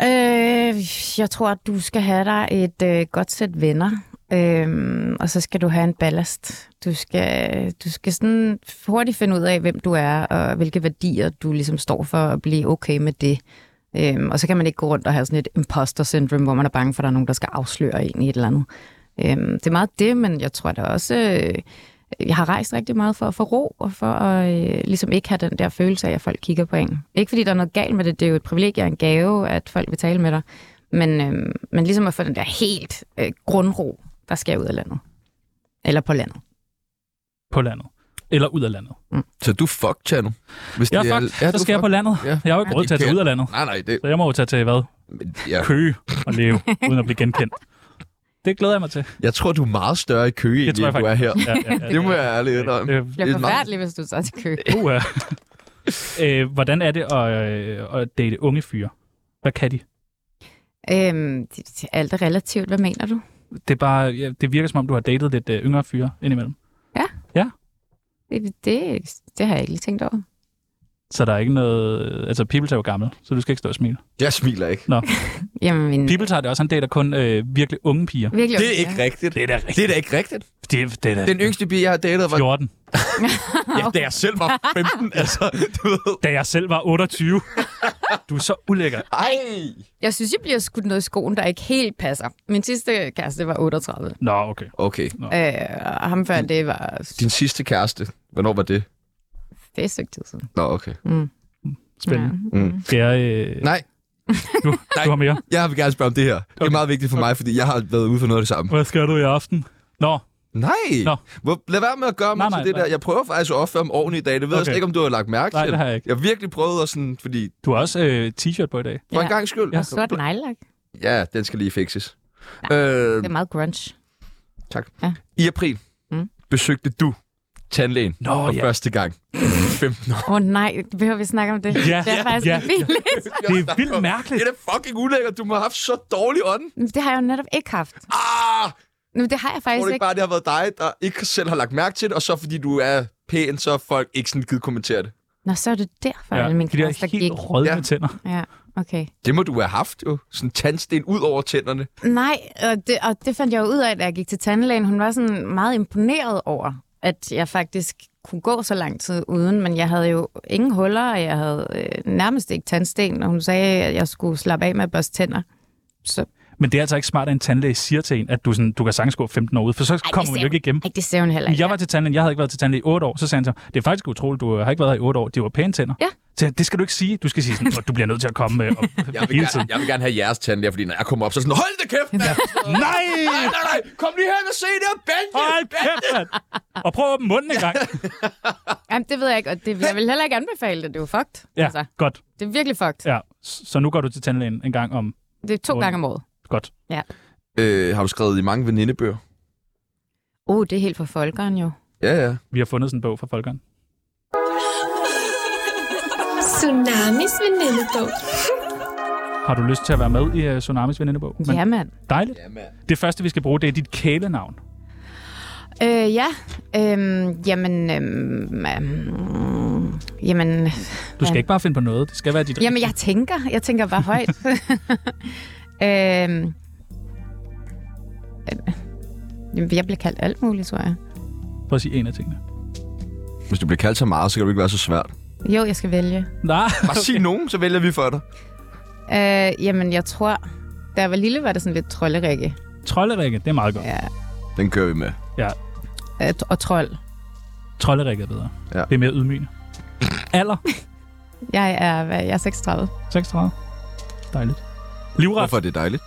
Øh, jeg tror, at du skal have dig et øh, godt sæt venner, øh, og så skal du have en ballast. Du skal, du skal sådan hurtigt finde ud af, hvem du er, og hvilke værdier du ligesom står for, og blive okay med det. Øhm, og så kan man ikke gå rundt og have sådan et imposter syndrome, hvor man er bange for, at der er nogen, der skal afsløre en i et eller andet. Øhm, det er meget det, men jeg tror da også, øh, jeg har rejst rigtig meget for at få ro, og for at øh, ligesom ikke have den der følelse af, at folk kigger på en. Ikke fordi der er noget galt med det, det er jo et privilegie og en gave, at folk vil tale med dig, men, øh, men ligesom at få den der helt øh, grundro, der skal ud af landet. Eller på landet.
På landet. Eller ud af landet.
Så du er fucked, Tjerno. Hvis
Jeg er
det
fucked. Ja,
du
så skal jeg
fucked.
på landet.
Ja.
Ja. Jeg har jo ikke
Ja,
råd til at
det
tage
kan-
ud af landet.
Nej, nej, det...
Så jeg må jo tage til hvad?
Ja.
Køge og leve, uden at blive genkendt. Det glæder jeg mig til.
Jeg tror, du er meget større i Køge, end
tror jeg
du er her.
faktisk. Ja, ja, ja.
det må jeg ærligt indrømme.
Det
Det bliver forfærdeligt, hvis du tager til kø.
Uh, øh, hvordan er det at, øh, at date unge fyre? Hvad kan de?
Øhm, det- det- alt er relativt, hvad mener du?
Det, er bare, ja, det virker som om, du har datet lidt øh, yngre fyre indimellem.
Det, det, det har jeg ikke lige tænkt over.
Så der er ikke noget... Altså, Pibels er jo gammel, så du skal ikke stå og smile.
Jeg smiler ikke.
Nå.
Jamen,
Mm.
min...
Pibels har det også, han dater kun øh, virkelig unge piger.
Virkelig
Det er
ondt,
ikke
ja.
rigtigt.
Det er da
Det
rigtigt.
er da ikke rigtigt.
Det, det er da
Den yngste pige, jeg har datet, var...
14.
Ja, da jeg selv var 15, altså, du ved.
Da jeg selv var 28. Du er så ulækker.
Ej!
Jeg synes, jeg bliver skudt noget i skoen, der ikke helt passer. Min sidste kæreste var 38, øh,
Nå, okay.
Okay.
og ham før det var...
Din sidste kæreste, hvornår var det?
Det er et stykke tid siden.
Nå, okay.
Spændende.
Mm.
Skal jeg... Øh,
Nej,
du, du har mere?
jeg vil gerne spørge om det her. Det er meget vigtigt for mig, fordi jeg har været ude for noget af det samme.
Hvad skal du i aften? Nå,
Nej!
Nå.
Hvor, lad være med at gøre mig
Nej,
til
nej,
det
nej.
der. Jeg prøver faktisk at opføre mig ordentligt i dag. Det ved okay. jeg
Okay.
slet ikke, om du har lagt mærke
Nej,
til.
det har jeg ikke.
Jeg har virkelig prøvet at sådan, fordi
du har også øh, t-shirt på i dag.
for
Ja.
en gang skyld.
Og sort nejlak.
Ja, den skal lige fikses.
Nej,
Øh,
Det er meget grunge.
tak.
Ja.
I april
Mm.
besøgte du tandlægen
Nå,
for
ja.
første gang. 15 år.
Åh oh, nej, behøver vi snakke om det?
Ja,
det er
ja,
faktisk
ja,
ikke vildt.
Det er vildt
Det
mærkeligt.
er da fucking ulækkert. Du må have haft så dårlig ånd.
Men Det har jeg jo netop ikke haft.
Ah!
Nu, det har jeg
Tror
faktisk
du ikke
ikke.
bare, det har været dig, der ikke selv har lagt mærke til det, og så fordi du er pæn, så har folk ikke sådan givet kommentere det?
Nå, så er det derfor, ja,
Ja,
min
de der
kæreste gik.
helt rødne
Ja.
ja. tænder.
Ja, okay.
Det må du have haft jo. Sådan en tandsten ud over tænderne.
Nej, og det, og det fandt jeg jo ud af, da jeg gik til tandlægen. Hun var sådan meget imponeret over, at jeg faktisk kunne gå så lang tid uden, men jeg havde jo ingen huller, og jeg havde øh, nærmest ikke tandsten, og hun sagde, at jeg skulle slappe af med at børste tænder. Så
Men det er altså ikke smart, at en tandlæge siger til en, at du, sådan, du kan sagtens gå 15 år ud, for så kommer man
ser
jo ikke igennem.
ej, det ser hun heller ikke.
Jeg var til tandlægen, jeg havde ikke været til tandlæge i 8 år, så sagde han til mig, det er faktisk utroligt, du har ikke været her i 8 år, det var pæne tænder.
Ja.
Så jeg, det skal du ikke sige, du skal sige sådan, "Nå, du bliver nødt til at komme øh, og,
Jeg vil,
hele
gerne,
tiden.
jeg vil gerne have jeres tandlæger, fordi når jeg kommer op, så er det sådan, hold da kæft, mand!
Nej!
Nej, nej, nej! Kom lige hen og se det her Benji!
Hold kæft, mand! Og prøv at åbne munden en gang.
Jamen, det ved jeg ikke, og det, jeg vil heller ikke anbefale det. Det er jo fucked.
Ja,
Altså,
godt.
det er virkelig fucked.
Ja. s- Så nu går du til tandlægen en gang om
Det er to
Hvor-
gange om året.
godt.
Øh, har du skrevet i mange venindebøger?
Åh, oh, det er helt for folkeren jo.
Ja, ja.
Vi har fundet sådan en bog fra Folkeren.
Tsunamis venindebog.
Har du lyst til at være med i uh, Tsunamis venindebog? Men
Ja, mand.
Dejligt. Det første, vi skal bruge, det er dit kælenavn.
Øh, ja. Øhm, jamen, øhm, øhm, jamen,
Du skal
Ja.
ikke bare finde på noget. Det skal være dit
jamen, jeg tænker. Jeg tænker bare højt. øhm, øhm, jeg bliver kaldt alt muligt, tror jeg.
Prøv at sige en af tingene.
Hvis du bliver kaldt så meget, så kan du ikke være så svært.
Jo, jeg skal vælge.
Nej.
Bare sig nogen, så vælger vi for dig.
Øh, jamen, jeg tror, da jeg var lille, var det sådan lidt trolderikke.
Trollerikke, det er meget godt. Ja.
Ja,
Den kører vi med.
øh, tr- og trold.
Trollerikke er bedre.
Ja.
Det er mere ydmygende. Alder?
Jeg er, hvad, jeg er 36.
36. Dejligt. Livret?
Hvorfor er det dejligt?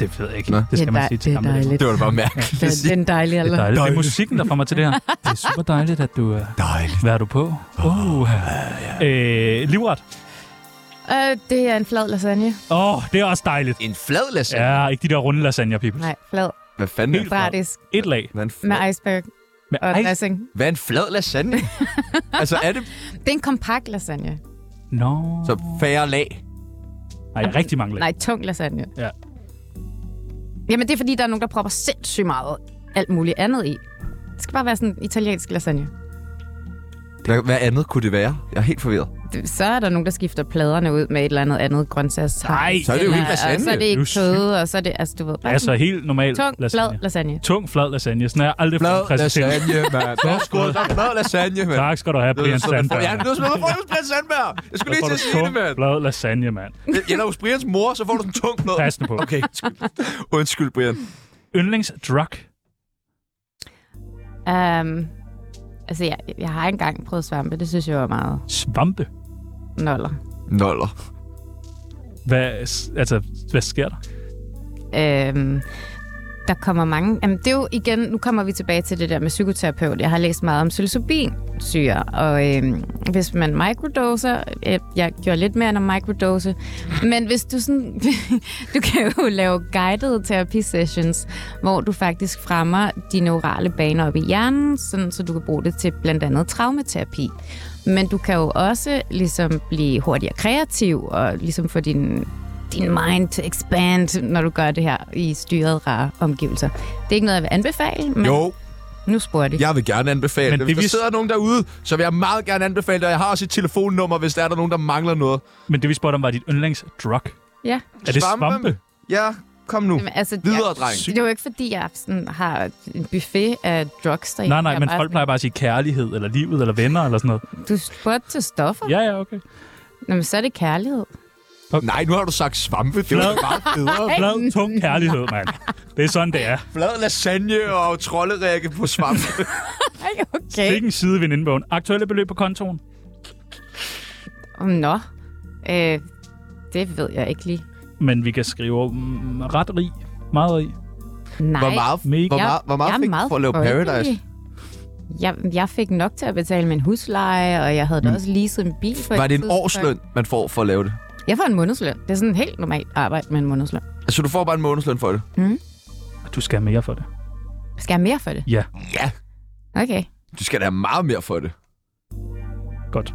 Det Det ved jeg ikke. Det skal
Det er
man
dej-
sige til
det er
ham. med det.
dejligt. Det var da bare mærkeligt at sige. Det er en dejlig
Det
alder.
er, dejligt. det er
Dejligt.
musikken, der får mig til det her. Det er super dejligt, at du... Dejligt. Hvad er du på? Oh, uh, øh, livret.
Øh, det er en flad lasagne.
Åh, oh, det er også dejligt.
En flad lasagne?
Ja, ikke de der runde lasagne, people.
Nej, flad.
Hvad fanden?
Helt Bratisk.
Et lag.
Hvad er en,
Med iceberg.
Med
og
ice-
dressing.
hvad er en flad lasagne? altså, er det...
Det er en kompakt lasagne.
No.
Så færre lag?
Nej, rigtig mange
Nej, tung lasagne.
Ja.
Jamen, det er fordi, der er nogen, der propper sindssygt meget alt muligt andet i. Det skal bare være sådan en italiensk lasagne.
Hvad, hvad andet kunne det være? Jeg er helt forvirret.
Det- Så er der nogen, der skifter pladerne ud med et eller andet andet grøntsags. Nej,
så er det jo ikke lasagne.
Og så er det
Du er
ikke
syg.
kød, og så er det, altså du ved, bare
Altså,
sådan
helt normal
tung,
lasagne.
flad lasagne.
Tung, flad lasagne. Sådan er jeg aldrig flad
lasagne, mand. Så skål, der flad lasagne, mand.
Tak skal du have, Brian Sandberg.
Ja, du smider på Brian Sandberg. Jeg skulle lige til at sige det, mand.
Flad lasagne, mand.
Eller hos Brians mor, så får du den tung flad.
Pas nu på.
Okay, undskyld, Brian.
Yndlingsdrug.
Um, altså, jeg, jeg har engang prøvet svampe. Det synes jeg var meget
Svampe?
noller.
Noller.
Hvad, altså, hvad sker der?
Øhm, der kommer mange... Jamen, det er jo igen... Nu kommer vi tilbage til det der med psykoterapeut. Jeg har læst meget om psilocybinsyre, og øhm, hvis man microdoser... Øh, jeg gjorde lidt mere end at microdose. Men hvis du sådan... du kan jo lave guided therapy sessions, hvor du faktisk fremmer de neurale baner op i hjernen, sådan, så du kan bruge det til blandt andet traumaterapi. Men du kan jo også ligesom blive hurtigere kreativ og ligesom få din din mind to expand, når du gør det her i styrede, rare omgivelser. Det er ikke noget, jeg vil anbefale, men
Jo,
nu spurgte jeg.
jeg vil gerne anbefale
Men
det. Hvis
det
der
vi-
sidder nogen derude, så vil jeg meget gerne anbefale det. Og jeg har også et telefonnummer, hvis der er der nogen, der mangler noget.
Men det, vi spurgte om, var dit yndlingsdrug.
Ja.
Er det svampe?
Ja, kom nu.
Jamen, altså,
Videre,
jeg,
dreng.
Det er jo ikke, fordi jeg sådan, har en buffet af drugs derhjemme.
Nej, nej,
Jeg
men
er bare
folk plejer bare at sige kærlighed, eller livet, eller venner, eller sådan noget.
sådan, Du spurgte til stoffer?
Ja, ja, okay.
Jamen, så er det kærlighed.
Okay. Nej, nu har du sagt svampe. Det var
Flad.
bare bedre.
Flad, tung kærlighed, mand. Det er sådan, det er.
Flad lasagne og trolderække på svampe.
Ej, okay.
Stik en side ved indbogen. Aktuelle beløb på kontoen?
Om Nå. Øh, det ved jeg ikke lige.
Men vi kan skrive mm, ret rig. Meget rig.
Nej.
Hvor meget-
Mega.
hvor meget- hvor meget
jeg er
fik du
meget
for at lave
folkelig.
Paradise?
Jeg, jeg fik nok til at betale min husleje, og jeg havde da også leaset en bil. For
Var
et
det en
tidspunkt.
årsløn, man får for at lave det?
Jeg får en månedsløn. Det er sådan helt normalt arbejde med en månedsløn.
Altså, du får bare en månedsløn for det?
Mm.
Du skal have mere for det.
Skal jeg have mere for det?
Ja.
Ja,
Okay.
du skal da have meget mere for det.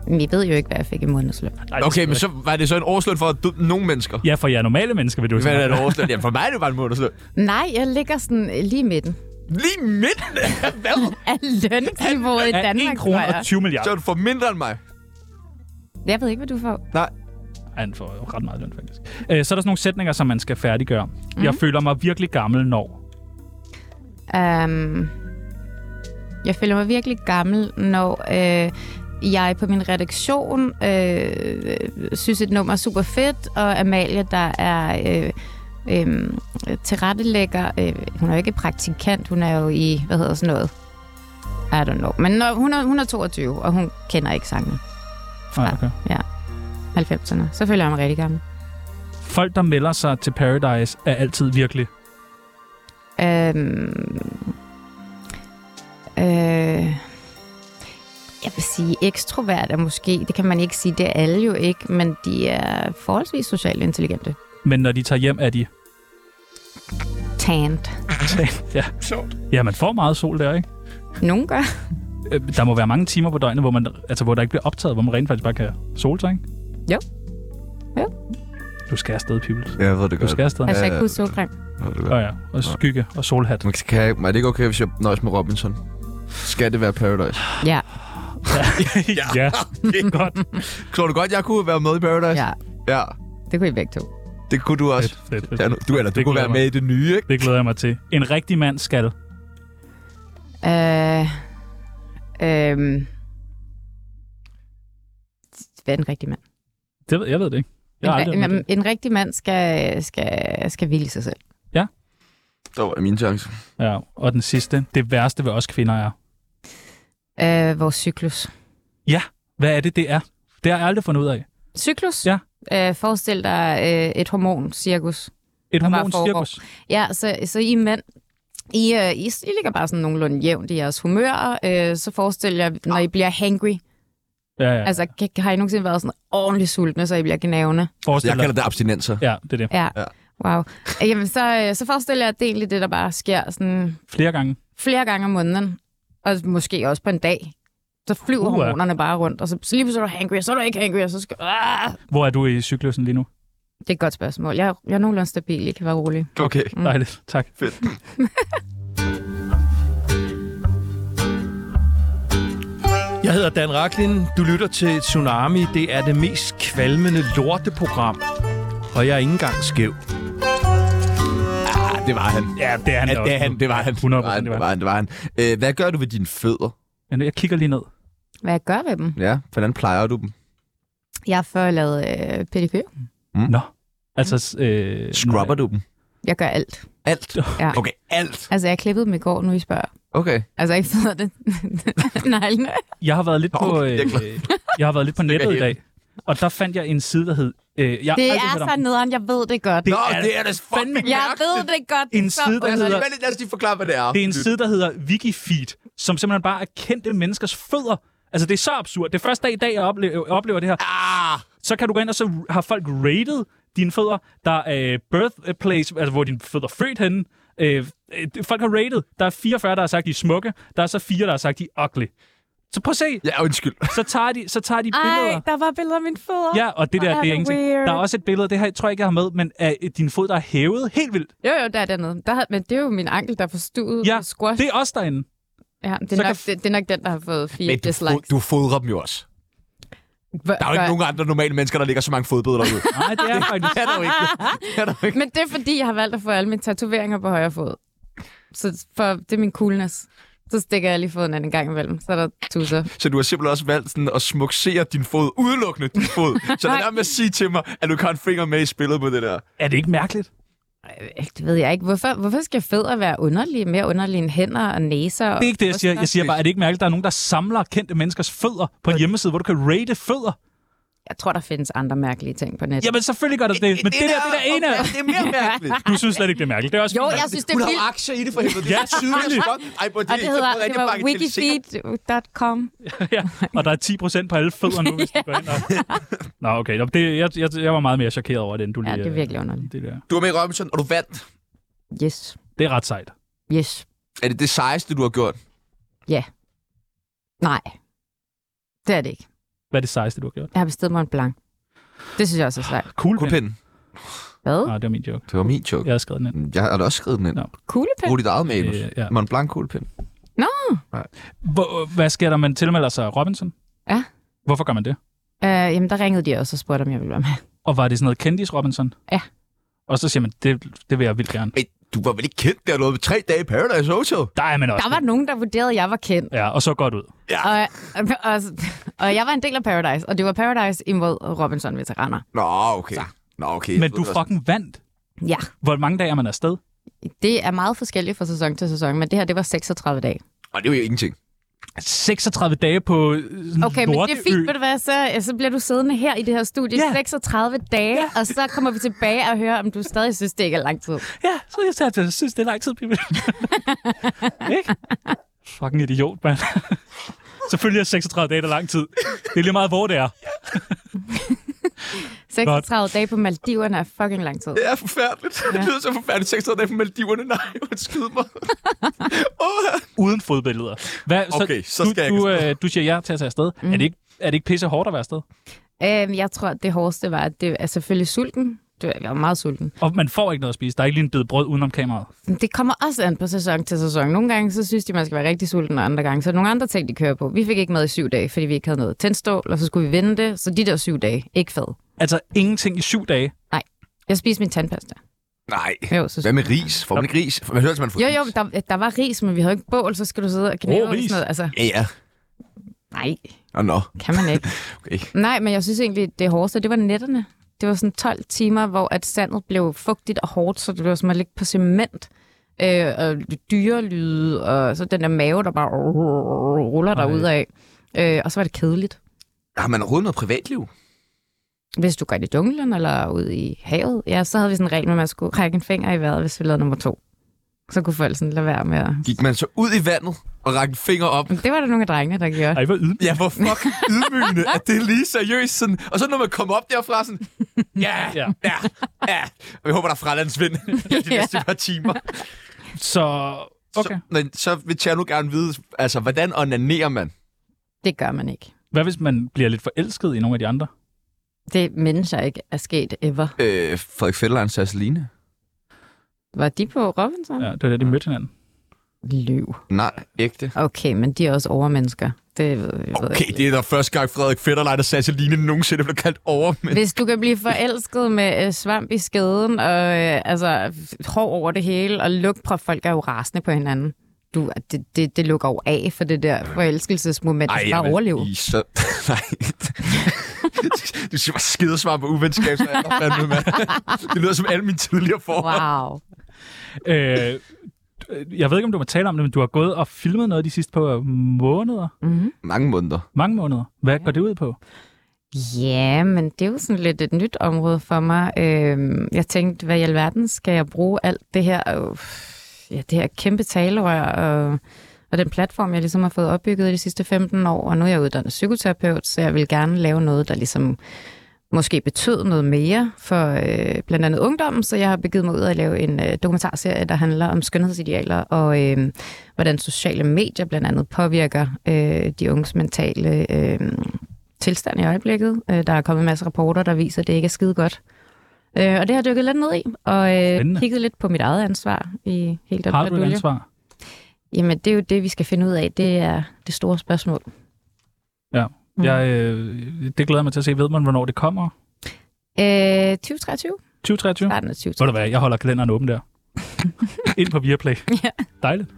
Men I ved jo ikke, hvad jeg fik i månedsløn.
Ej, det
Okay,
skal
men
du
så var det så en årsløn for du, nogle mennesker?
Ja, for jer normale mennesker vil du
Hvad er
snakke
en
om.
årsløn? Jamen, for mig er det bare en månedsløn.
Nej, jeg ligger sådan øh, lige i midten
Lige midten af hvad?
af lønniveauet i
Af
Danmark,
1 kroner
tror jeg.
og 20
Så er
milliarder.
du for mindre end mig.
Jeg ved ikke, hvad du får.
Nej.
Han får jo ret meget løn, faktisk. Øh, Så er der sådan nogle sætninger, som man skal færdiggøre.
Mhm.
Mm-hmm. Jeg føler mig virkelig gammel, når...
Um, jeg føler mig virkelig gammel, når øh, jeg på min redaktion øh, synes, et nummer er super fedt, og Amalie, der er øh, øh, tilrettelægger, øh, hun er jo ikke praktikant, hun er jo i, hvad hedder sådan noget? I don't know. Men når, hun, er, hun er 22, og hun kender ikke sangene.
Nej, okay.
Ja, 90'erne. Så føler jeg mig rigtig gammel.
Folk, der melder sig til Paradise, er altid virkelig...
Øhm, øh, jeg vil sige, ekstrovert er måske, det kan man ikke sige, det er alle jo ikke, men de er forholdsvis socialt intelligente.
Men når de tager hjem, er de...
Tant.
ja. ja, man får meget sol der, ikke?
Nogen gør.
Øh, Der må være mange timer på døgnet, hvor, man, altså, hvor der ikke bliver optaget, hvor man rent faktisk bare kan sole sig, ikke?
Jo.
Du skal afsted, Pibels.
Ja, jeg ved det
Du
godt.
skal afsted.
Altså, jeg
ja,
kan huske solcreme.
Ja, ja. Og skygge og solhat.
Man kan, jeg- er det ikke okay, hvis jeg nøjes med Robinson? Skal det være Paradise?
Ja,
ja.
det er
godt.
Tror du godt, jeg kunne være med i Paradise?
ja.
ja.
Det kunne I begge to.
Det kunne du også.
Fedt, fedt, fedt.
Ja, nu- Du, eller, du
Det
kunne være
glæder
med i det nye, ikke?
Det glæder jeg mig til. En rigtig mand skal...
Øh, øh, hvad er en rigtig mand?
Det ved, jeg ved det ikke. Jeg har aldrig
En,
været med
en,
det.
en rigtig mand skal, skal, skal hvile i sig selv.
Der var min chance.
Ja, og den sidste. Det værste ved os kvinder er...
Øh, vores cyklus.
Ja, hvad er det, det er? Det har jeg aldrig fundet ud af.
Cyklus?
Ja.
Øh, forestil dig øh, et hormoncirkus.
Et
der bare
hormoncirkus.
foregår. Ja, så, så I mænd, I, øh, I, I ligger bare sådan nogenlunde jævnt i jeres humør. Øh, så forestil jer, når I bliver hangry.
Ja, ja.
Altså, kan, har I nogensinde været sådan ordentligt sultne, så I bliver gnavende?
Så jeg kalder det abstinenser.
Ja, det er det.
Ja. Wow. Jamen, så, øh, så forestil jer, at det er egentlig det, der bare sker sådan
Flere gange.
flere gange om måneden, og måske også på en dag. Så flyver
Uha.
uh, hormonerne bare rundt, og så, så lige pludselig er du hangry, og så er du ikke hangry, og så skal ah!
Hvor er du i cyklusen lige nu?
Det er et godt spørgsmål. Jeg, jeg er nogenlunde stabil, I kan være rolig.
Okay.
Mm.
Dejligt. Tak.
Fedt.
Jeg hedder Dan Raklin. Du lytter til Tsunami. Det er det mest kvalmende lorteprogram. Og jeg er ikke engang skæv.
Ah, det var han.
Ja, det er han da
det,
også.
er han, det var han.
100
det var han. Det var han. Det var han. Øh, hvad gør du ved dine fødder?
Jeg kigger lige ned.
Hvad jeg gør ved dem?
Ja, hvordan plejer du dem?
Jeg har før lavet øh, pedikør.
Mm.
Nå. Altså, øh,
Scrubber du dem?
Jeg gør alt.
Alt?
Ja.
Okay, alt?
Altså, jeg klippede dem i går, nu I spørger.
Okay.
Altså, ikke federe det. Neglene.
Jeg har været lidt på,
Okay,
øh,
jeg er glad.
øh, jeg har været lidt på nettet i
helt.
dag, og der fandt jeg en side, der hed... Øh, jeg har
Det
aldrig
er
hørt om
så
den.
nederen, jeg ved det godt.
Det Nå, er- det er da
fandme
Jeg ved det godt.
En
så Altså,
side, der
underligt.
hedder-
Lad os lige forklare, hvad det er.
Det er en side, der hedder Wikifeed, som simpelthen bare er kendte menneskers fødder. Altså, det er så absurd. Det er første dag i dag, jeg oplever, oplever det her.
Ah!
Så kan du gå ind, og så har folk rated dine fødder. Der er øh, birthplace, altså hvor dine fødder er født henne. Øh, øh, folk har rated. Der er 44, der har sagt, de er smukke. Der er så fire, der har sagt, de er ugly. Så prøv at se.
Ja, undskyld.
Så tager de, så tager de billeder.
Ej, der var billeder af mine fødder.
Ja, og det
Hvor
der, det er ingenting.
weird.
Der er også et billede, det her tror jeg ikke, jeg har med, men af øh, din fod, der er hævet helt vildt.
Jo, jo, der er dernede. Der, har- men det er jo min ankel, der er forstuet.
Ja,
squash.
det er også derinde.
Ja, det
Så
er,
kan
nok, det, det er nok den, der har fået fire
Men du,
dislikes.
fod- du fodrer dem jo også.
Hva-
Der er jo
gør-
ikke nogen andre normale mennesker, der ligger så mange fodbøder derude.
Nej, det er faktisk...
det er der jo ikke. Det er der jo ikke.
Men det er, fordi jeg har valgt at få alle mine tatoveringer på højre fod. Så for, det er min coolness. Så stikker jeg lige foden af en gang imellem. Så er der tusser.
Så du har simpelthen også valgt sådan at smuksere din fod, udelukkende din fod. Så lad
Nej.
være med at sige til mig, at du ikke har en finger med i spillet på det der.
Er det ikke mærkeligt?
Øh, Det ved jeg ikke. Hvorfor, hvorfor skal fødder være underlige? Mere underlige end hænder og næser?
Det er ikke det, jeg siger. Jeg siger bare, er det ikke mærkeligt, at der er nogen, der samler kendte menneskers fødder på en hjemmeside, hvor du kan rate fødder?
Jeg tror, der findes andre mærkelige ting på nettet.
Jamen, selvfølgelig gør der det, men det, der, det der ene er...
Det er mere mærkeligt.
Du synes slet ikke, det er mærkeligt. Det er også
Jo, jeg synes, det
Hun
er
har jo
vildt.
aktier i det for helvede. Det
Ja,
er tydeligt. godt. Ej, bro, det,
Og det hedder,
er
det var wikifeed.com.
Og der er 10 procent på alle fødder nu, hvis du går ind og... Nå, okay. Nå, Det, jeg, jeg, jeg var meget mere chokeret over det, end du lige...
Ja, det er
øh,
virkelig underligt.
Det, der.
Du var med i Robinson, og du vandt.
Yes.
det er ret sejt.
Yes.
Er det det sejeste, du har gjort?
Ja. Nej. Det er det ikke.
Hvad er det sejeste, du har gjort?
Jeg har bestilt mig en blank. Det synes jeg også er sejt.
Kuglepen.
Kuglepinden.
Hvad?
Nej, det var min joke.
Det var min joke.
Jeg har skrevet den ind.
Jeg har da også skrevet den ind.
Nå.
Kuglepen?
Brug dit eget manus.
Øh, ja.
Mont Blanc kuglepind.
Nå.
Hvor, hvad sker der, man tilmelder sig Robinson?
Ja.
Hvorfor gør man det?
Øh, jamen, der ringede de også og spurgte, om jeg ville være med.
Og var det sådan noget kendis Robinson?
Ja.
Og så siger man, det, det vil jeg vildt gerne.
Men du var vel ikke kendt der, du havde tre dage i Paradise Hotel?
Der er man også.
Der var nogen, der vurderede, at jeg var kendt.
Ja, og så godt ud.
Og, og, og jeg var en del af Paradise, og det var Paradise imod Robinson-veteraner.
Nå, okay. Nå, okay.
Men du fucking vandt.
Ja,
Hvor mange dage er man afsted?
det er meget forskelligt fra sæson til sæson, men det her, det var 36 dage.
Og det er jo ingenting.
36 dage på øh, sådan
Okay, men det er
lorteø.
fint, ved du hvad, så, så bliver du siddende her i det her studie i
Ja.
36 dage, og så kommer vi tilbage og hører, om du stadig synes, det ikke er lang tid.
Ja, så jeg sagde, at jeg synes, det er lang tid, Pippi. Ikke? Fucking idiot, mand. Selvfølgelig er 36 dage der lang tid. Det er lige meget, hvor det er.
36 dage på Maldiverne er fucking lang tid.
Det er forfærdeligt. Ja. Det lyder så forfærdeligt. 36 dage på Maldiverne. Nej, undskyld mig.
Uden fodbilleder. Hvad,
Okay, så skal jeg
du,
ikke
du, øh, du siger ja til at tage afsted. Mm. Er, det ikke, er det ikke pisse hårdt at være afsted?
Øhm, jeg tror, at det hårdeste var, at det er selvfølgelig sulten. Du, jeg var meget sulten.
Og man får ikke noget at spise. Der er ikke lige en bid brød udenom kameraet.
Men Det kommer også an på sæson til sæson. Nogle gange, så synes de, man skal være rigtig sulten, og andre gange, så er der nogle andre ting, de kører på. Vi fik ikke mad i syv dage, fordi vi ikke havde noget tændstål, og så skulle vi vende det, så de der syv dage, ikke fad.
Altså ingenting i syv dage.
Nej, jeg spiste min tandpasta.
Nej.
Jo, så
Hvad med ris? Får man ikke ris? Hvad hører man får
Jo,
ris?
jo, der, der var ris, men vi havde ikke bål, så skal du sidde og knæve
Rå
og sådan
ris?
noget. Altså,
Ja, ja.
nej,
Nå, nå.
kan man ikke.
Okay.
nej, men jeg synes egentlig, det hårdeste, det var netterne. Det var sådan 12 timer, hvor at sandet blev fugtigt og hårdt, så det var som at ligge på cement. Øh, og dyrelyde, og så den der mave, der bare ruller
Ej.
derud af. Øh, og så var det kedeligt.
Har man overhovedet noget privatliv?
Hvis du gør det i junglen eller ud i havet, ja, så havde vi sådan en regel med, at man skulle række en finger i vejret, hvis vi lavede nummer to. Så kunne folk sådan lade være med at...
Gik man så ud i vandet og rakte en finger op?
Det var der nogle af drengene, der gjorde.
Ej, hvor ydmygende.
Ja, hvor fuck ydmygende, at det er lige seriøst. Sådan. Og så når man kommer op derfra, sådan, ja, ja, ja, ja. Og vi håber, der er fralandsvind de
Ja.
næste par timer.
Så, okay.
Så, men, så vil jeg nu gerne vide, altså, hvordan onanerer man?
Det gør man ikke.
Hvad hvis man bliver lidt forelsket i nogle af de andre?
Det mindes jeg ikke er sket ever.
Øh, Frederik Fetterlein og Celine.
Var de på Robinson?
Ja, det var da, de mødte hinanden.
Løv.
Nej, ægte.
Okay, men de er også overmennesker. Det ved jeg. Okay.
Okay, det er da første gang, Frederik Fetterlein og Celine nogensinde blev kaldt over. Men...
Hvis du kan blive forelsket med øh, svamp i skeden, og øh, altså, hår over det hele, og lugtprop, folk er jo rasende på hinanden. Du, det, det, det lukker jo af for det der forelskelsesmoment. Ej, du skal bare overleve.
I så... Nej. du siger bare skidesvar på uvenskab, så er der fandme, mand. Det lyder som alle mine tidligere forhold.
Wow.
Øh, jeg ved ikke, om du må tale om det, men du har gået og filmet noget de sidste par måneder.
Mm-hmm.
Mange måneder.
Mange måneder. Hvad går det ud på?
Ja, men det er jo sådan lidt et nyt område for mig. Øhm, jeg tænkte, hvad i alverden skal jeg bruge alt det her, øh, ja, det her kæmpe talerør og, og den platform, jeg ligesom har fået opbygget i de sidste 15 år, og nu er jeg uddannet psykoterapeut, så jeg vil gerne lave noget, der ligesom måske betød noget mere for øh, blandt andet ungdommen, så jeg har begivet mig ud at lave en øh, dokumentarserie, der handler om skønhedsidealer og øh, hvordan sociale medier blandt andet påvirker øh, de unges mentale øh, tilstand i øjeblikket. Øh, der er kommet en masse rapporter, der viser, at det ikke er skide godt. Øh, og det har jeg dykket lidt ned i, og øh,
Spændende.
kigget lidt på mit eget ansvar i hele den
Har du et
badulje.
ansvar?
Jamen, det er jo det, vi skal finde ud af. Det er det store spørgsmål.
Ja.
Mm.
Jeg, øh, det glæder jeg mig til at se. Ved man, hvornår det kommer?
Øh, 2023?
2023?
Starten af 2023.
Ved du hvad, jeg holder kalenderen åben der. Ind på Viaplay.
Ja.
Dejligt.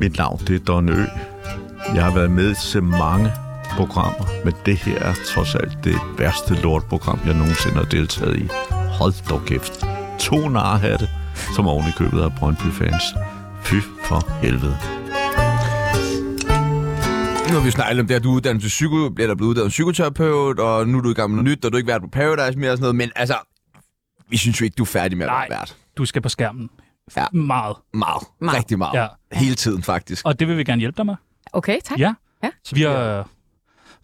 Mit navn det er Don Ø. Jeg har været med til mange programmer, men det her er trods alt det værste lortprogram, jeg nogensinde har deltaget i. Hold dog kæft. To narhatte, som oven i købet af Brøndby-fans. Fy for helvede.
Nu har vi jo snakket om det, at du er uddannet til psyko, eller blevet uddannet psykoterapeut, og nu er du i gang med noget nyt, og du har ikke været på Paradise mere og sådan noget, men altså, vi synes jo ikke, du er færdig med at være vært.
Du skal på skærmen.
Ja.
Meget.
Meget.
Meget.
Rigtig meget.
Ja.
Ja. Hele tiden, faktisk.
Og det vil vi gerne hjælpe dig med.
Okay, tak.
Ja.
ja.
Så vi har øh,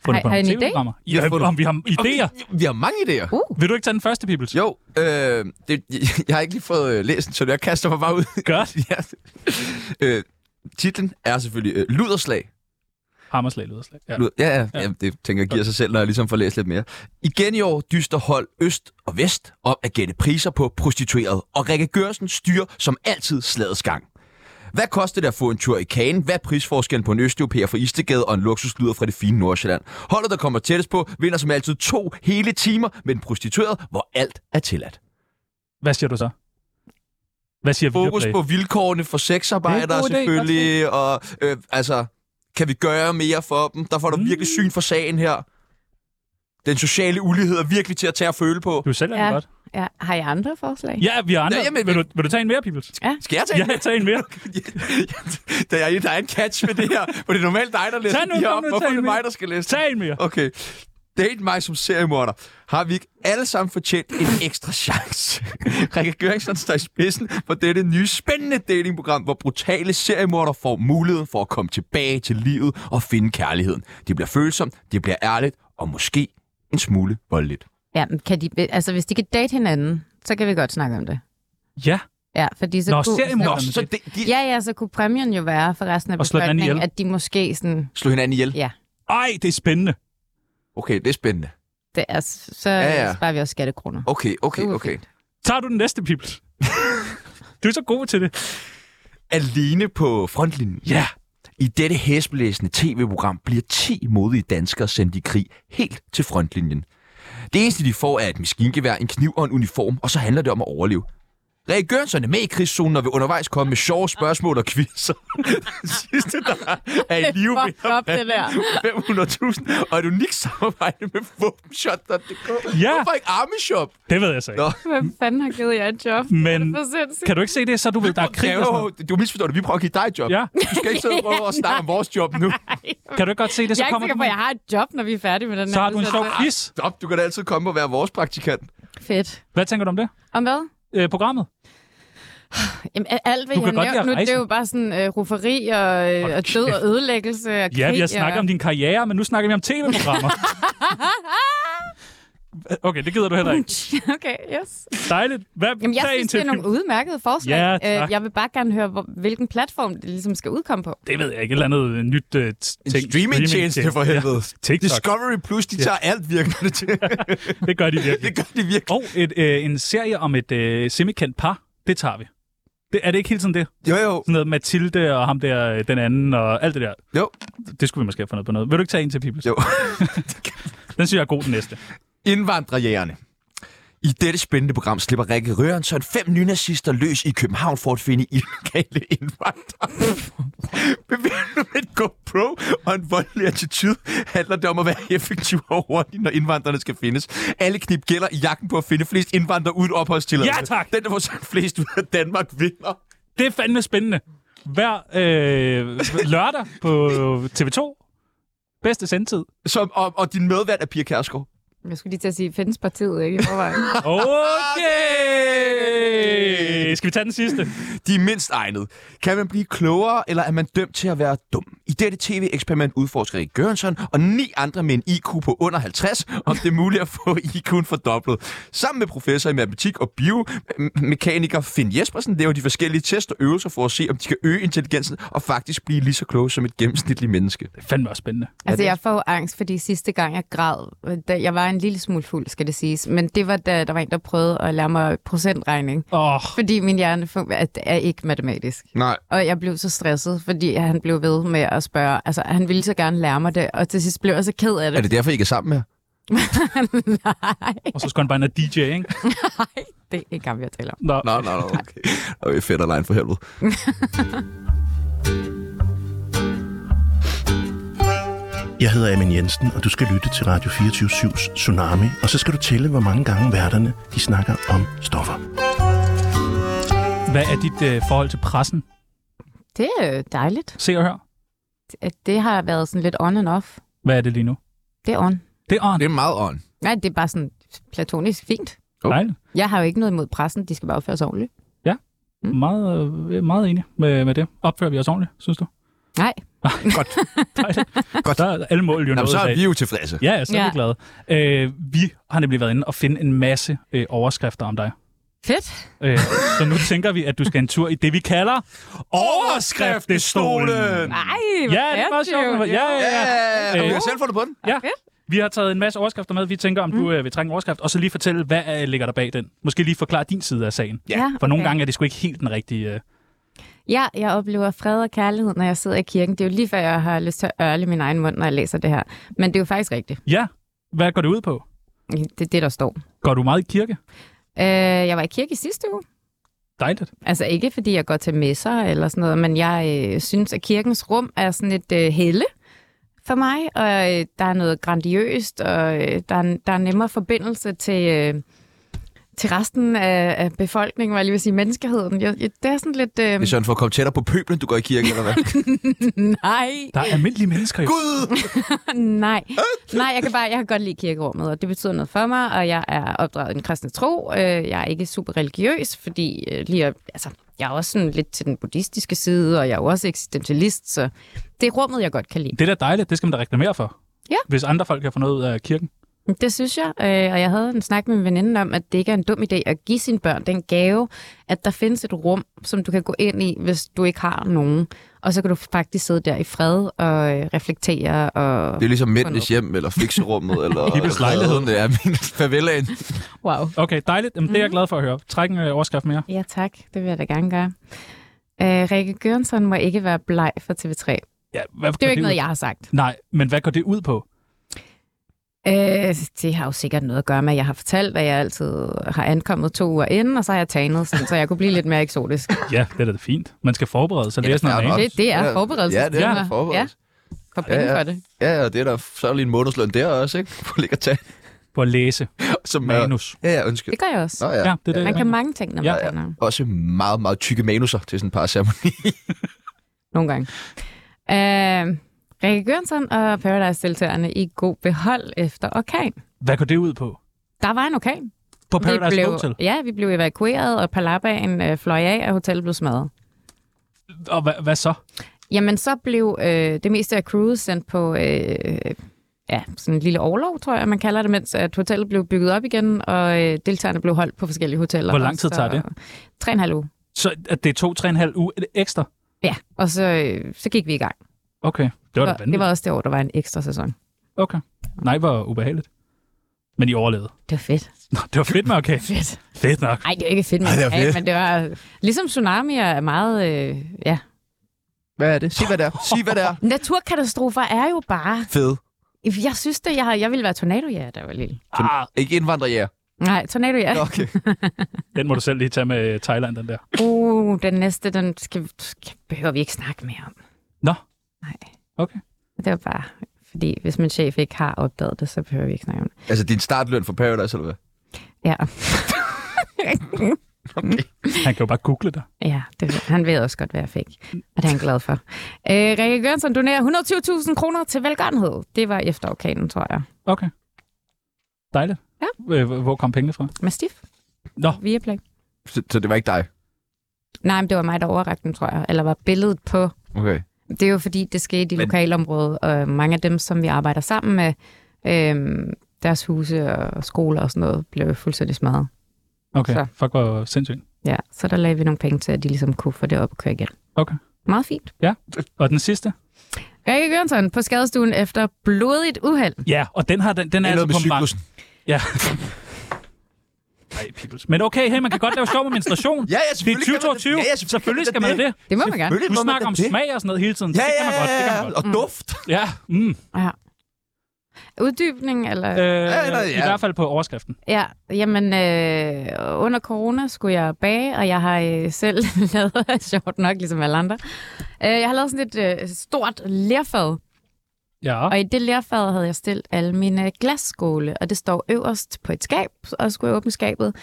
fundet
Har-
på
har I
nogle
en idé?
tv-programmer.
Vi har
Ja,
fundet-
om vi har idéer.
Vi har mange idéer.
Uh.
Vil du ikke tage den første, Pibels?
Jo, øh, det, jeg- jeg har ikke lige fået øh, læst den, så jeg kaster mig bare ud.
Godt.
ja. øh, titlen er selvfølgelig øh, Luderslag.
Hammerslag, luderslag. Ja.
Lud- Ja, ja, ja. Jamen, det tænker jeg giver sig selv, når jeg ligesom får læst lidt mere. Igen i år dyster hold Øst og Vest om at gætte priser på prostitueret, og Rikke Gørsen styrer som altid slagets gang. Hvad koster det at få en tur i kagen? Hvad er prisforskellen på en østeuropæer fra Istegade og en luksuslyder fra det fine Nordsjælland? Holdet, der kommer tættest på, vinder som altid to hele timer med en prostitueret, hvor alt er tilladt.
Hvad siger du så? Hvad siger
Fokus på
Viaplay?
vilkårene for
Det er
sexarbejdere
en god idé,
selvfølgelig, og øh, altså, kan vi gøre mere for dem? Der får du virkelig
Mm.
syn for sagen her. Den sociale ulighed er virkelig til at tage og føle på.
Du sælger
ja. ja. Har I andre forslag?
Ja, vi har andre.
Ja,
Ja,
jamen,
jamen, vil, du, vil du tage en mere, Pibels?
Ja.
Skal jeg tage en
ja,
mere?
jeg tager en mere.
Der er, der er en catch med det her, for det er normalt dig, der læser
Tag nu,
de her
kom
op.
nu,
Hvorfor
tag
er det
en mere.
mig, der skal læse
Tag en mere.
Okay. Date mig som seriemorder. Har vi ikke alle sammen fortjent en ekstra chance? Rikke Gøringsson står i spidsen for dette nye spændende datingprogram, hvor brutale seriemorder får muligheden for at komme tilbage til livet og finde kærligheden. Det bliver følsomt, det bliver ærligt og måske en smule voldeligt.
Ja, men kan de, altså hvis de kan date hinanden, så kan vi godt snakke om det.
Ja.
Ja, fordi så
Nå,
kunne,
seriemorderne. Nå, så
det, de... Ja, ja, så kunne præmien jo være for resten af
Og slå hinanden
befolkningen,
ihjel.
at de måske sådan...
Slå hinanden ihjel?
Ja,
Ej, det er spændende.
Okay, det er spændende.
det er, så
Ja,
ja,
ja.
ja. sparer vi også skattekroner.
Okay, okay, okay.
Tager du den næste, Pibels? du er så god til det.
alene på frontlinjen. Ja. I dette hæsblæsende tv-program bliver 10 modige danskere sendt i krig helt til frontlinjen. Det eneste, de får, er et maskingevær, en kniv og en uniform, og så handler det om at overleve. Reagørenserne med i krigszonen, og vil undervejs komme med sjove spørgsmål og quizzer. Sidste, der er i live
Det er fucked up, det der.
500.000, og et unikt samarbejde med våbenshot.dk.
Ja.
Hvorfor ikke Armyshop?
Det ved jeg så ikke.
Nå.
Hvem fanden har givet jer et job?
Men
Det er for sindssygt.
kan du ikke se det, så du ved, der er krig og sådan
noget? Du misforstår det. Vi prøver at give dig et job.
Ja.
Du skal ikke sidde og prøve at snakke om vores job nu.
Kan du ikke godt se det? Så
jeg er ikke
kommer
sikker
du
på, at jeg har et job, når vi er færdige med den her. udsendelse.
Stop, du kan da altid komme og være vores praktikant.
Fedt.
Hvad tænker du om det?
Om hvad?
Øh, programmet?
Jamen, a- alt, hvad
Du
jeg
kan godt lide at
nævnt, nu det er
rejse.
jo bare sådan øh, rufferi og, øh, og død og ødelæggelse og
Ja, vi har
krig
snakket
og...
om din karriere, men nu snakker vi om tv-programmer. okay, det gider du heller ikke.
okay, yes.
Dejligt. Hvad
Jamen, jeg
tag en
synes, det er
til-
nogle udmærkede forslag.
Ja, tak.
Øh, jeg vil bare gerne høre, hvor, hvilken platform det ligesom skal udkomme på.
Det ved jeg ikke. Et eller andet øh, nyt uh, ting.
streamingtjeneste for helvede.
TikTok.
Discovery Plus, de tager alt virkende til.
det gør de virkelig.
det gør de virkelig.
Og et, øh, en serie om et øh, semikendt par, det tager vi. Det, er det ikke hele tiden det?
Jo, jo.
Sådan noget Mathilde og ham der, øh, den anden og alt det der.
Jo.
Det skulle vi måske have fundet på noget. Vil du ikke tage en til, Pibels?
Jo.
den synes jeg er god, den næste.
Indvandrerjægerne. I dette spændende program slipper Rikke Rørensson fem nynazister løs i København for at finde illegale indvandrere. Bevæbnet med et GoPro og en voldelig attitude handler det om at være effektiv og hurtig, når indvandrerne skal findes. Alle knip gælder i jagten på at finde flest indvandrere uden opholdstilladelse.
Ja, tak.
Den, der får sendt flest ud af Danmark, vinder.
Det er fandme spændende. Hver øh, lørdag på TV2. Bedste sendtid.
Som, og, og din medvært er Pia Kærsgaard.
Jeg skulle lige til at sige, findes partiet ikke i forvejen? Altså,
Okay! Skal vi tage den sidste?
De er mindst egnet. Kan man blive klogere, eller er man dømt til at være dum? I dette tv-eksperiment udforsker Erik Gørensson og ni andre med en IQ på under 50, om det er muligt at få IQ'en fordoblet. Sammen med professor i matematik og biomekaniker Finn Jespersen laver de forskellige test og øvelser for at se, om de kan øge intelligensen og faktisk blive lige så kloge som et gennemsnitligt menneske. Det
er fandme også spændende.
Altså, jeg får jo angst, fordi sidste gang jeg græd, da jeg var en lille smule fuld, skal det siges, men det var, da der var en, der prøvede at lære mig procentregning.
Oh.
Fordi min hjerne er, er ikke matematisk.
Nej.
Og jeg blev så stresset, fordi han blev ved med at spørge. Altså, han ville så gerne lære mig det, og til sidst blev jeg så ked af det.
Er det derfor, I ikke er sammen med?
Og så skal han bare ind og DJ, ikke?
Det er ikke ham, jeg taler om.
Nå,
nå, nå, nå okay. Okay, fedt alene for helvede.
Jeg hedder Amin Jensen, og du skal lytte til Radio 24-7's Tsunami, og så skal du tælle, hvor mange gange værterne de snakker om stoffer.
Hvad er dit øh, forhold til pressen?
Det er jo dejligt.
Se og hør.
Det- Det har været sådan lidt on and off.
Hvad er det lige nu?
Det er on.
Det er on.
Det er meget on.
Nej, det er bare sådan platonisk fint.
Okay.
Jeg har jo ikke noget imod pressen, de skal bare opføre sig ordentligt.
Ja, mm. meget, øh, meget enig med, med det. Opfører vi os ordentligt, synes du? Ah,
Nej.
Godt. Godt.
Der er alle mål jo
Jamen,
noget
så
i
er
dag.
vi jo tilfredse.
Ja, så er ja.
Ja.
vi glade. Øh, vi har nemlig været inde og finde en masse øh, overskrifter om dig.
Fedt.
Øh, så nu tænker vi, at du skal en tur i det, vi kalder overskriftestolen.
Nej,
Ja, det er meget sjovt. Ja, ja, ja.
Ja,
Øh,
jeg selv fundet på den.
Ja. Vi har taget en masse overskrifter med. Vi tænker, om
Mm.
du øh, vil trænge en overskrift, og så lige fortælle, hvad øh, ligger der bag den. Måske lige forklare din side af sagen.
Ja. Ja,
For nogle
okay.
gange er det sgu ikke helt den rigtige... Øh.
Ja, jeg oplever fred og kærlighed, når jeg sidder i kirken. Det er jo lige før, jeg har lyst til at ørle min egen mund, når jeg læser det her. Men det er jo faktisk rigtigt.
Ja, hvad går det ud på?
Det er det, der står.
Går du meget i kirke?
Øh, jeg var i kirke i sidste uge.
Dejligt.
Altså ikke fordi jeg går til messer eller sådan noget, men jeg øh, synes, at kirkens rum er sådan et øh, helle for mig, og øh, der er noget grandiøst, og øh, der, er, der er nemmere forbindelse til, øh, til resten af, af befolkningen, hvad jeg lige vil sige, menneskeheden. Jeg, jeg, det er sådan lidt... Øh,
Det er sådan for at komme tættere på pøblen, du går i kirke, eller hvad?
nej.
Der er almindelige mennesker jo.
Gud!
Nej. Nej, jeg kan bare, jeg kan godt lide kirkerummet, og det betyder noget for mig, og jeg er opdraget i den kristne tro. Øh, Jeg er ikke super religiøs, fordi øh, lige, at- altså, jeg er også sådan lidt til den buddhistiske side, og jeg er jo også eksistentialist, så det er rummet, jeg godt kan lide.
Det er da dejligt. Det skal man da reklamere for.
Ja.
Hvis andre folk kan få noget ud af kirken.
Det synes jeg, øh, og jeg havde en snak med min veninde om, at det ikke er en dum idé at give sine børn den gave, at der findes et rum, som du kan gå ind i, hvis du ikke har nogen. Og så kan du faktisk sidde der i fred og øh, reflektere. Og
Det er ligesom mændenes hjem, eller fikserummet, eller...
Hippes lejlighed.
Det er min favelaen.
Wow.
Okay, dejligt. Jamen, det er
Mhm.
jeg glad for at høre. Træk en øh, overskrift mere.
Ja tak, det vil jeg da gerne gøre. Øh, Rikke Gørensson må ikke være bleg for TV3.
Ja, hvad
det
går
er jo ikke
ud-
noget, jeg har sagt.
Nej, men hvad går det ud på?
Øh, det har jo sikkert noget at gøre med, at jeg har fortalt, at jeg altid har ankommet to uger inden, og så har jeg tanet, sådan, så jeg kunne blive lidt mere eksotisk.
Ja, det er da fint. Man skal forberede sig. Læse noget af.
Det, det er
Ja,
forberedelse.
ja, det er da forberedelse.
Ja. For penge
ja, ja.
for det.
Ja, ja, og det er der så er der lige en månedsløn der også, ikke? På at ligge og tage.
På at læse.
Som manus. Ja, ja, undskyld.
Det gør jeg også.
Nå, ja.
Ja,
det
det
er
er
det,
man
jeg
kan
mener.
mange ting, når man ja, ja.
Også meget, meget tykke manuser til sådan et par ceremoni.
Nogle gange. Øh, Rikke Gørnsen og Paradise-deltagerne i god behold efter orkan.
Hvad går det ud på?
Der var en orkan.
På
Vi
Paradise
blev,
Hotel?
Ja, vi blev evakueret, og Palabaen øh, fløj af, og hotellet blev smadret.
Og hvad, hvad så?
Jamen, så blev øh, det meste af crewet sendt på øh, ja, sådan en lille overlov, tror jeg, man kalder det, mens at hotellet blev bygget op igen, og øh, deltagerne blev holdt på forskellige hoteller.
Hvor lang tid
Så-
tager det?
Tre og en halv uge.
Så at det er to, tre og en halv uge ekstra?
Ja, og så, øh, så gik vi i gang.
Okay, det var da
Så det
vanvittigt.
var også det år, der var en ekstra sæson.
Okay. Nej, hvor ubehageligt. Men I overlevede.
Det var fedt.
Nå, det var fedt nok, okay.
fedt.
Fedt nok.
Nej, det er jo ikke fedt, men,
Ej, det var fedt.
men det var ligesom tsunami er meget... Øh, ja.
Hvad er det? Sig hvad det er. Sig hvad det er.
Naturkatastrofer er jo bare...
Fed.
Jeg synes det, jeg, har- jeg ville være tornado, ja, der var lille.
Ah. Ikke indvandrerjæger.
Nej, tornado, ja.
Okay.
Den må du selv lige tage med Thailand, den der.
Uh, den næste, den skal, skal, behøver vi ikke snakke mere om.
Nå.
Nej.
Okay.
Det var bare, fordi hvis min chef ikke har opdaget det, så behøver vi ikke snakke om det.
Altså din startløn for Paradise, eller hvad?
Ja.
Han kan jo bare google dig.
ja, det, han ved også godt, hvad jeg fik. Og det er han glad for. Øh, Rikke Gørnsen donerer 120.000 kroner til velgørenhed. Det var efter orkanen, tror jeg.
Okay. Dejligt. Ja. Øh, hvor kom pengene fra?
Mastiff.
Nå.
Viaplay.
Så, så det var ikke dig?
Nej, men det var mig, der overrakte dem, tror jeg. Eller var billedet på.
Okay.
Det er jo fordi, det skete i
Men-
lokalområdet, og mange af dem, som vi arbejder sammen med, øh, deres huse og skoler og sådan noget, blev fuldstændig smadret.
Okay,
Så.
så. fuck hvor sindssygt.
Ja, så der lagde vi nogle penge til, at de ligesom kunne få det op at køre igen.
Okay.
Meget fint.
Ja, og den sidste?
Rikke Gørnsen på skadestuen efter blodigt uheld.
Ja, og den, har, den, den er
Eller
altså
med
på mange. Ja. Nej, peoples. Men okay, hey, man kan godt lave sjov med menstruation.
ja, ja,
selvfølgelig det er 2022. Ja, ja, selvfølgelig, selvfølgelig skal man det.
Det må man gerne.
Du snakker om smag og sådan noget hele tiden. så
Ja,
det kan man
ja,
godt. Det kan man
ja,
godt.
og duft.
Ja. Mm.
ja. Uddybning, eller?
Øh,
nej,
I
ja.
hvert fald på overskriften.
Ja, jamen øh, under corona skulle jeg bage, og jeg har øh, selv lavet, sjovt nok, ligesom alle andre, øh, jeg har lavet sådan et øh, stort lerfad,
Ja.
og i det lerfad havde jeg stillet alle mine glasskåle, og det står øverst på et skab, og skulle jeg åbne skabet,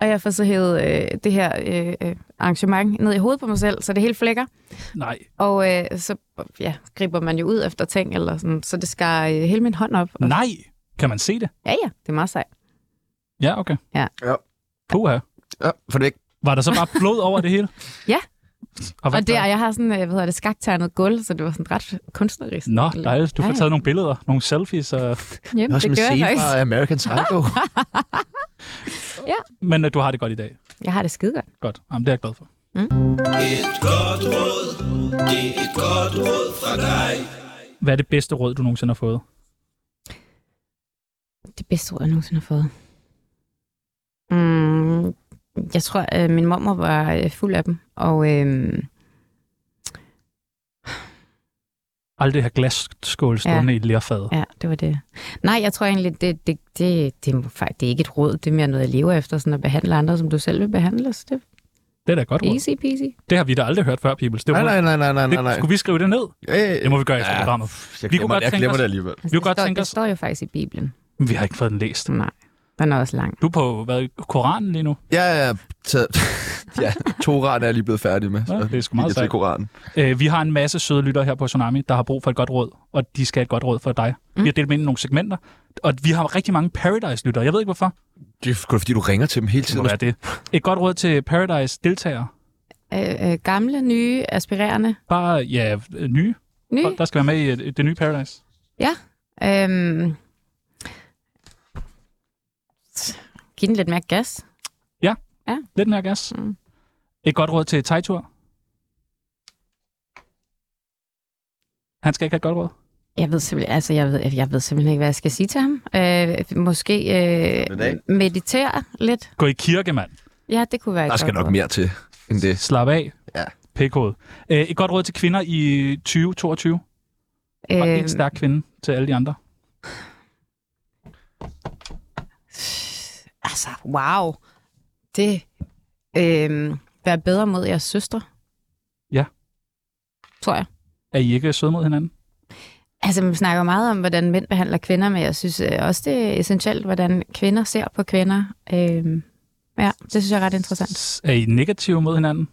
og jeg får så hævet øh, det her øh, øh, arrangement ned i hovedet på mig selv, så det hele flækker.
Nej.
Og øh, så ja, griber man jo ud efter ting, eller sådan, så det skar øh, hele min hånd op. Og,
Nej. Kan man se det?
ja, ja, det er meget sejt.
Ja, okay.
Ja.
ja.
Puha.
Ja, for det ikke.
Var der så bare blod over det hele?
Ja,
Og
og,
hvad
og det, og jeg har sådan, øh, hvad hedder det, skakternet gulv, så det var sådan ret kunstnerisk.
Nå, dejligt. Du får
Ja, ja.
taget nogle billeder, nogle selfies. Og...
Jamen, Også det med gør jeg scene faktisk. fra
American Psycho.
Ja,
Men øh, du har det godt i dag.
jeg har det skide godt.
Godt. Jamen, det er jeg glad for.
Et godt råd, det er et godt råd fra dig.
Hvad er det bedste råd, du nogensinde har fået?
Det bedste råd, jeg nogensinde har fået. Mm, jeg tror, øh, min mormor var øh, fuld af dem, og øh,
Aldrig have glasskål stående ja. i lærfadet.
ja, det var det. Nej, jeg tror egentlig, det, det, det, det, må faktisk- det er ikke et råd, det er mere noget, jeg lever efter, sådan at behandle andre, som du selv vil behandle, så det
Det er da et godt
er
råd.
easy peasy.
Det har vi da aldrig hørt før, Peoples. Det
Nej,
må-
nej, nej, nej, nej,
Det-
nej.
Skulle vi skrive det ned?
Ja, ja, ja.
Det må vi gøre efter
Ja,
programmet.
jeg
vi
glemmer det. Jeg glemmer
os-
det alligevel.
Vi kunne godt
står,
tænke
Altså, det
os...
står jo faktisk i Bibelen.
Vi har ikke fået den læst.
Nej, den er også lang.
Du er på hvad, Koranen lige nu.
Ja, ja. Taget. ja, Toran er jeg lige blevet færdig med. Så
Ja, det er sgu meget
gik jeg til
sejt.
Koranen.
Øh, vi har en masse søde lyttere her på Tsunami, der har brug for et godt råd, og de skal have et godt råd for dig. Mm. Vi har delt dem ind i nogle segmenter, og vi har rigtig mange Paradise-lyttere. Jeg ved ikke, hvorfor.
Det er sgu da, fordi du ringer til dem hele
Det må
tiden.
være det. Et godt råd til Paradise-deltagere.
Øh, øh, gamle, nye, aspirerende.
Bare, ja, nye.
Nye?
Folk, Der skal være med i øh, det nye Paradise.
Ja. Øhm. Giv den lidt mere gas.
Ja,
Ja.
lidt mere gas.
Mm.
Et godt råd til Tejtur. Han skal ikke have et godt råd.
Jeg ved simpelthen, altså jeg ved, jeg ved simpelthen ikke, hvad jeg skal sige til ham. Øh, måske øh,
Goddag.
meditere lidt.
Gå i kirke, mand.
Ja, det kunne være et
Der skal
godt
nok
råd.
mere til end det.
Slap af.
Ja.
Pikhoved. Øh, et godt råd til kvinder i øh, 2022. Og
Øhm.
en stærk kvinde til alle de andre.
altså, wow, det øh, vær bedre mod jeres søstre.
Ja.
Tror jeg.
Er I ikke søde mod hinanden?
Altså, man snakker meget om, hvordan mænd behandler kvinder, men jeg synes øh, også, det er essentielt, hvordan kvinder ser på kvinder. Øh, ja, det synes jeg er ret interessant.
Er I negative mod hinanden?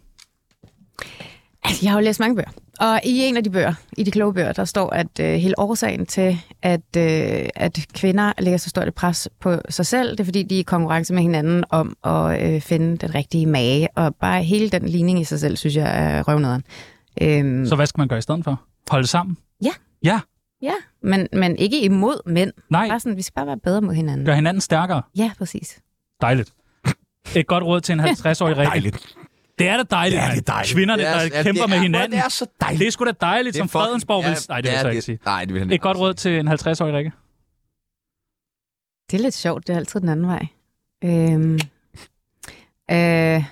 Altså, jeg har jo læst mange bøger. Og i en af de bøger, i de kloge bøger, der står, at øh, hele årsagen til, at, øh, at kvinder lægger så stort et pres på sig selv, det er fordi, de er i konkurrence med hinanden om at øh, finde den rigtige mage. Og bare hele den ligning i sig selv, synes jeg er røvnederen. Øhm,
Så hvad skal man gøre i stedet for? Holde sammen?
Ja.
Ja,
Ja, men, men ikke imod mænd.
Nej.
Bare sådan, vi skal bare være bedre mod hinanden.
gør hinanden stærkere.
Ja, præcis.
Dejligt. Et godt råd til en 50-årig regel. Dejligt. Det er da dejligt.
Det er
mand.
det dejligt.
Kvinderne,
Det er-
der
ja, det
kæmper
er-
med
hvor
hinanden.
det er så dejligt.
Det er sgu da dejligt,
Det er
som
fucking-
Fredensborg
ja,
vil... Nej, det vil
ja,
jeg så
det-
ikke sige.
nej, det vil han
Et
ikke
godt råd til en 50-årig Rikke.
Det er lidt sjovt, det er altid den anden vej. Øhm, øh,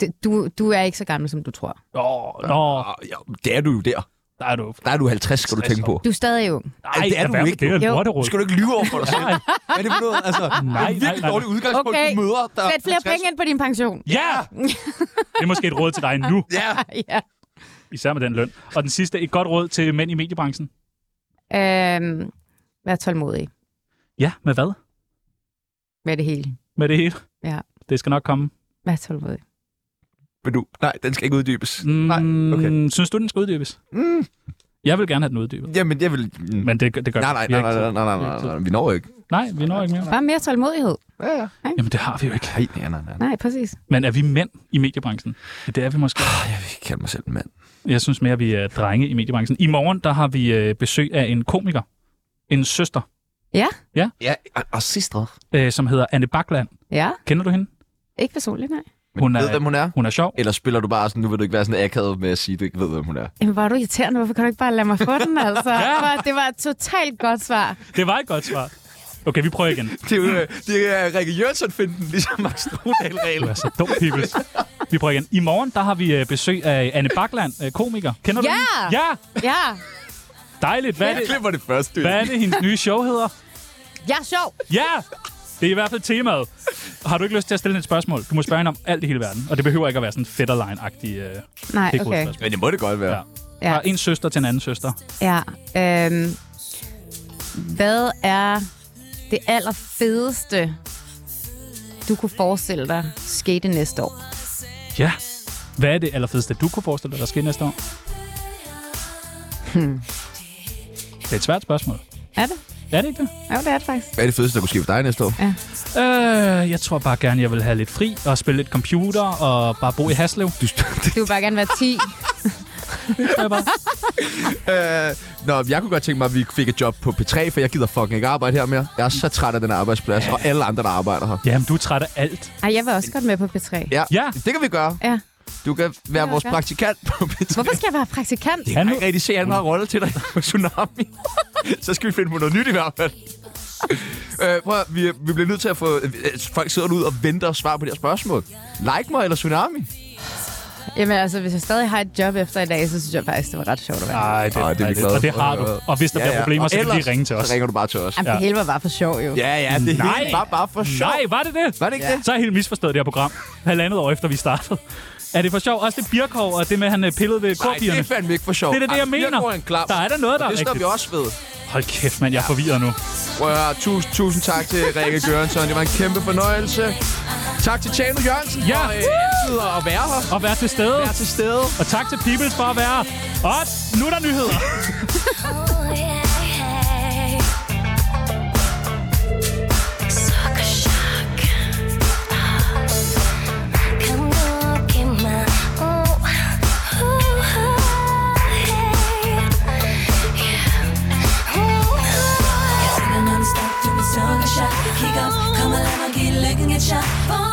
det, du, du er ikke så gammel, som du tror.
Åh, nå.
Ja, det er du jo der.
Der er du.
Der er du 50, skal du tænke på.
Du er stadig ung.
Ej, det er
lad være
du
med
ikke.
det, det er et lorteråd.
Skal du ikke lyve over for dig selv? Hvad er det for noget? Altså, det er
Nej,
et
nej,
virkelig
nej.
dårligt udgangspunkt,
Okay,
du møder. Der
sæt flere penge ind på din pension.
Ja! Det er måske et råd til dig nu.
Ja.
ja.
Især med den løn. Og den sidste, et godt råd til mænd i mediebranchen.
Øhm, vær tålmodig
Ja, med hvad?
med det hele.
Med det hele.
Ja,
Det skal nok komme.
vær tålmodig.
Men du, nej, den skal ikke uddybes.
Mm, nej, okay. Synes du, den skal uddybes?
Mm.
Jeg vil gerne have den uddybet.
Jamen, jeg vil... mm.
Men det, det gør
Nej, nej,
vi har
nej,
ikke
nej, nej,
tid.
nej, nej,
Vi har
nej,
ikke tid.
nej, vi når ikke.
Nej, vi når ikke mere.
Bare mere tålmodighed.
Ja, ja.
Jamen, det har vi jo ikke.
Nej, nej, nej, nej.
Nej, præcis.
Men er vi mænd i mediebranchen? Ja, Det er vi måske.
Jeg vil ikke kalde mig selv en mand.
Jeg synes mere, vi er drenge i mediebranchen. I morgen, der har vi øh, besøg af en komiker. En søster,
Ja,
ja,
Ja, og, og sidste
øh, som hedder Anne Bakland.
ja.
Kender du hende?
Ikke personligt, nej.
Hun er, ved, hvem hun er?
Hun er sjov.
Eller spiller du bare sådan, nu vil du ikke være sådan akavet med at sige, du ikke ved, hvem hun er?
Jamen, var du irriterende? Hvorfor kan du ikke bare lade mig få den, altså?
Ja.
Det var- Det var et totalt godt svar.
Det var et godt svar. Okay, vi prøver igen.
Det er, jo, øh, det er Rikke Jørgensen finden, ligesom Max Strudal-regel.
Du er så dum, Pibels. Vi prøver igen. I morgen, der har vi øh, besøg af Anne Bakland, øh, komiker. Kender du
Ja!
hende? Ja!
Ja,
Dejligt. Hvad er
Jeg
det,
klipper det først.
hvad er det hendes nye show hedder?
jeg er sjov.
Ja! Det er i hvert fald temaet. Har du ikke lyst til at stille hende et spørgsmål? Du må spørge hende om alt i hele verden. Og det behøver ikke at være sådan fetterline-agtig. Øh,
Nej,
pikhoved
okay.
spørgsmål.
Men det må det godt være. Ja.
Ja.
Fra en søster til en anden søster.
Ja. Øhm, hvad er det allerfedeste, du kunne forestille dig skete næste år?
Ja. Hvad er det allerfedeste, du kunne forestille dig, der sker næste år?
Hmm.
Det er et svært spørgsmål.
Er det?
Er det ikke det?
Jo, det er det faktisk.
Hvad er det fedeste, der kunne ske for dig næste år?
Ja.
Øh, jeg tror bare gerne, jeg vil have lidt fri og spille lidt computer og bare bo i Haslev.
Du,
Du vil bare gerne være 10.
Øh, nå, jeg kunne godt tænke mig, at vi fik et job på P3, for jeg gider fucking ikke arbejde her mere. Jeg er så træt af den her arbejdsplads, og alle andre, der arbejder her.
Jamen, du er træt af alt.
Ej, jeg var også godt med på P3.
Ja,
ja.
det kan vi gøre.
Ja.
Du kan være
Ja,
vores
ja.
praktikant på P3.
Hvorfor skal jeg være praktikant?
Jeg kan ikke rigtig se, at han har rolle til dig på Tsunami. så skal vi finde på noget nyt i hvert fald. Øh, prøv at, høre, vi, vi bliver nødt til at få... øh, Folk sidder ud og venter og svarer på de her spørgsmål. Like mig eller Tsunami?
Jamen altså, hvis jeg stadig har et job efter i dag, så synes jeg faktisk, det var ret sjovt at være.
Nej,
det, Ej, det, er vi
dejligt.
glade
Og det
for.
har du. Og hvis der bliver problemer,
Og
så kan de
ellers,
ringe til os.
Så ringer du bare til os.
Jamen, det hele var bare for sjov, jo.
Ja, ja, det er
Nej.
helt bare, bare for sjov.
Nej, var det det?
Var det ikke Ja. det?
Så har jeg helt misforstået det her program. Halvandet år efter, vi startede. Er det for sjov? Også det Birkov og det med, at han øh, pillede ved
Nej, det
korpigerne.
er fandme ikke for sjov.
Det er da det, jeg mener. Der er der noget, der er
det står vi
rigtigt.
også ved.
Hold kæft, mand. Jeg er forvirret nu.
Prøv at høre, tusind, tusind tak til Rikke Gørensson. Det var en kæmpe fornøjelse. Tak til Tjano Jørgensen
Ja.
for øh, altid at være her.
Og vær til stede.
Vær til stede.
Og tak til Peoples for at være her. Og nu er der nyheder.
Come on, give a shot.